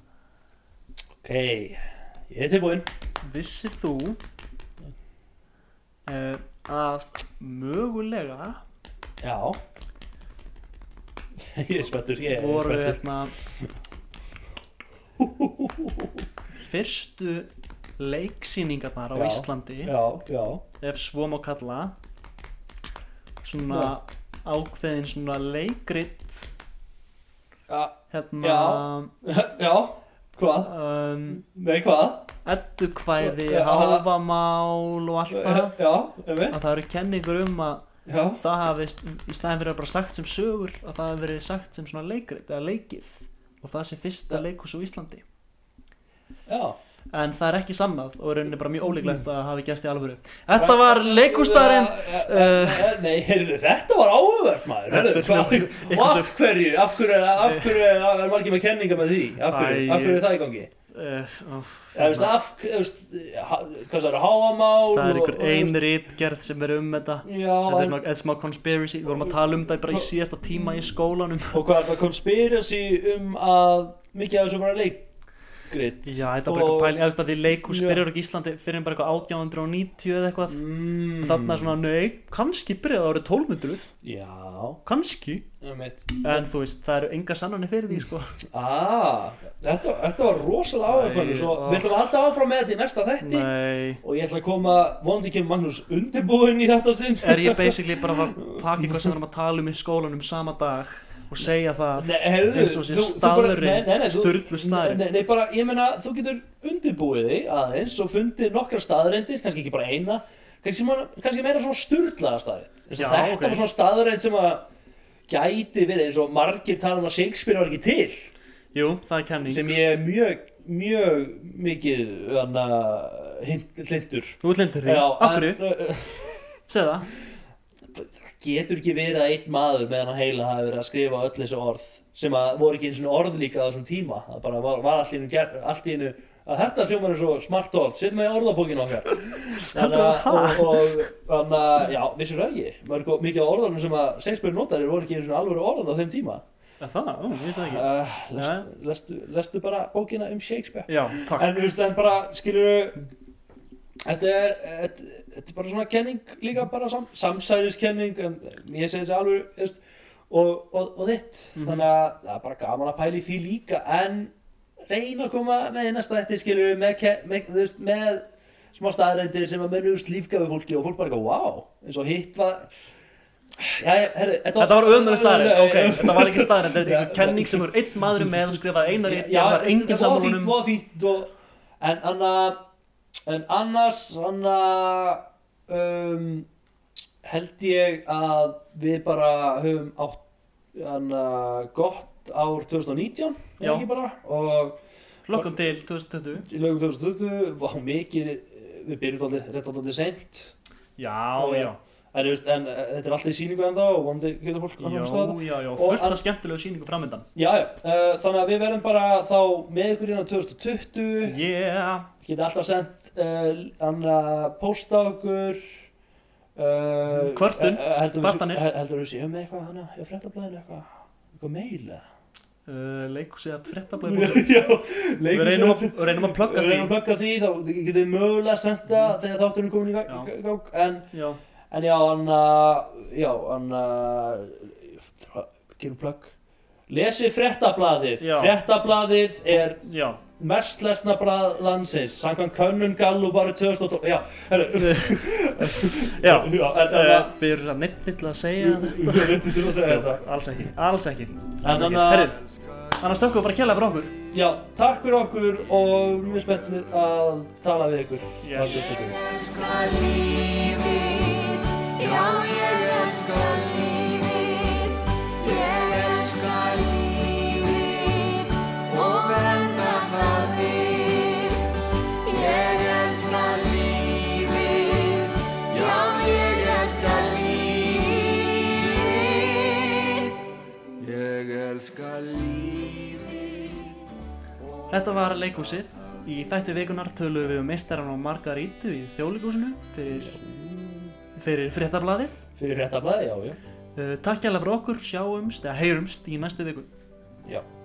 D: ok ég er tilbúinn
C: Vissir þú uh, að mögulega
D: já ég er spettur ég er
C: voru
D: spettur
C: hérna fyrstu leiksýningarnar á
D: Já,
C: Íslandi
D: já, já,
C: ef svo má kalla svona ákveðin svona leikrit
D: já,
C: hérna
D: Já. já hvað,
C: um,
D: nei hvað
C: eddukvæði,
D: Já.
C: háfamál og allt það
D: já, emi,
C: að það eru kenningur um að
D: já
C: það hafi í staðin fyrir að bara sagt sem sögur að það hafi verið sagt sem svona leikrit eða leikið og það sé fyrsta leikhús á Íslandi
D: Já,
C: en það er ekki sannað og er rauninni bara mjög ólíklegt að það hafi gæst í alvöru Þetta var leikhústarinn uh,
D: Nei, heyrðu, þetta var áhugavert maður
C: Þetta
D: heyrðu,
C: er
D: hvað-
C: svona-
D: Og af hverju, af hverju, er- af hverju er- er margir með kenninga með því? Af hverju,
C: Æ,
D: af hverju er það í gangi?
C: uh, óf,
D: Eða, veist,
C: þarna.
D: af, eða, veist, ha- hvað það eru, háamál
C: Það
D: og-
C: er einhver
D: og-
C: ein rítgerð sem er um þetta
D: Já,
C: Þetta er
D: en,
C: svona eða smá conspiracy, við vorum að tala um þetta bara í síðasta tíma í skólanum
D: og hvað er það konspirasi um að mikið af þessu var að leikrit
C: Já, þetta er bara eitthvað pæl, eða þú veist að því leikhús
D: Já.
C: byrjar ekki í Íslandi fyrir en bara eitthvað 1890 eða eitthvað
D: mm,
C: Þarna svona, nei, kannski byrjaði árið 1200
D: Já,
C: kannski,
D: um eitt
C: en þú veist, það eru enga sannanir fyrir því, sko
D: ah, þetta, þetta var rosalega áhugavert maður Svo
C: Æ, ah.
D: við ætlum að halda áfram með þetta í næsta þætti
C: Nei,
D: og ég ætla að koma vonandi kemur Magnús undirbúinn í þetta sinn
C: er ég basically bara að taka eitthvað sem við erum að tala um í skólanum sama dag og segja það
D: Nei, heyrðu,
C: eins og sé
D: þú- þú bara-
C: staðurinn,
D: nei, nei, nei, þú-
C: sturlu staðurinn.
D: Nei, nei, bara, ég meina, þú getur undirbúið þig aðeins og fundið nokkra staðarendir, kannski ekki bara eina kannski, man, kannski meira svona sturlaða staðarind
C: Já,
D: þetta
C: ok.
D: var svona staðarind sem að gæti verið eins og margir tala um að Shakespeare var ekki til
C: Jú, það er kenning
D: sem ég er mjög, mjög mikið hana, hlindur
C: Þú ert lindur því Af hverju? Segð það
D: getur ekki verið að einn maður með hann heila hafi verið að skrifa öll þessi orð sem að voru ekki eins og orð líka á þessum tíma það bara var, var allt í einu, ger- allt í einu að þetta hljómar er svo smart orð setjum við í orðabókinu okkar þannig að og, og, þannig að, já, vissir það ekki Mörg, og mikið af orðunum sem að Shakespeare notar eru voru ekki eins og alveg orð á þeim tíma
C: Er Það, ó, ég veist það ekki
D: uh, lest, lestu, lestu bara bókina um Shakespeare
C: Já, takk
D: en þú veist, en bara, skilur Þetta er, þetta, þetta er bara svona kenning líka bara sam, samsæðiskenning en ég segi þessi alveg þú veist, og, og, og þitt
C: Mhm.
D: þannig að það er bara gaman að pæli því líka en reyna að koma með í næsta þetta skilur með, ke- með, þú veist, með smá staðrændir sem að mennust lífgafi fólki og fólk bara eitthvað wow eins og hitt var Jæja, herri,
C: Þetta var öðmjölu staðrænd, ok,
D: ömurleg-
C: þetta var ekki staðrænd, þetta er
D: Já.
C: einhver kenning sem er einn maður með og skrifaði einar eitt,
D: Já,
C: það var enginn
D: þetta var
C: saman
D: fínt,
C: honum
D: var fínt og, en, anna, en annars anna, um, held ég að við bara höfum átt anna, gott ár 2019 er
C: Já.
D: ekki bara, og
C: Lokkum til 2020
D: í lögum 2020 var mikið við byrjum alltaf rétt alltaf seint
C: Já, já,
D: en, þú veist, en eh, þetta er alltaf í síningu enda og vonandi getur fólk að komast á þetta.
C: já, já, já,
D: Og
C: fullt
D: að-
C: af skemmtilegu síningu framöndan
D: Já, já, uh, þannig að við verðum bara þá með ykkur hérna innan 2020
C: Yeah,
D: geta alltaf sendt uh, annað posta okkur uh,
C: Kvörtun,
D: eh, eh, heldur við-
C: kvartanir.
D: he- heldur við séum með eitthvað hana í fréttablaðinu eitthvað eitthvað meil eða?
C: uh, leikhúsið að frétta
D: já,
C: Við
D: leikur
C: reynum að, við reynum að plugga
D: við
C: því Mm.
D: reynum að plugga því þá getið þið mögulega senda það þegar þátturinn er komin í gang-
C: Já.
D: í gang en,
C: Já,
D: en já, annað já, annað gerum plugg lesið fréttablaðið
C: Já.
D: fréttablaðið er
C: já,
D: mest lesna blað landsins samkvæmt könnun Gallup árið 2012 já, herru,
C: já
D: já, en, en,
C: uh, Við erum svo neitt til að segja
D: en ég veit til að segja
C: Djók,
D: þetta
C: Alls ekki, alls ekki Alls
D: En
C: ekki,
D: þannig
C: herru
D: að,
C: Annars þökkum við bara kjærlega fyrir okkur
D: já, takk fyrir okkur og mjög spennt að tala við ykkur
C: Yes.
A: elska lífið, já ég elska lífið, ég elska lífið og verða það við. Ég elska lífið, já ég elska lífið, ég elska lífið.
C: Þetta var leikhúsið Í þætti vikunar töluðum við um meistaran og Margarítu í þjóðleikúsinu fyrir, fyrir fréttablaðið Eh,
D: fyrir fréttablaði, já, já,
C: uh, Takk kjærlega fyrir okkur, sjáumst eða heyrumst í næstu viku
D: já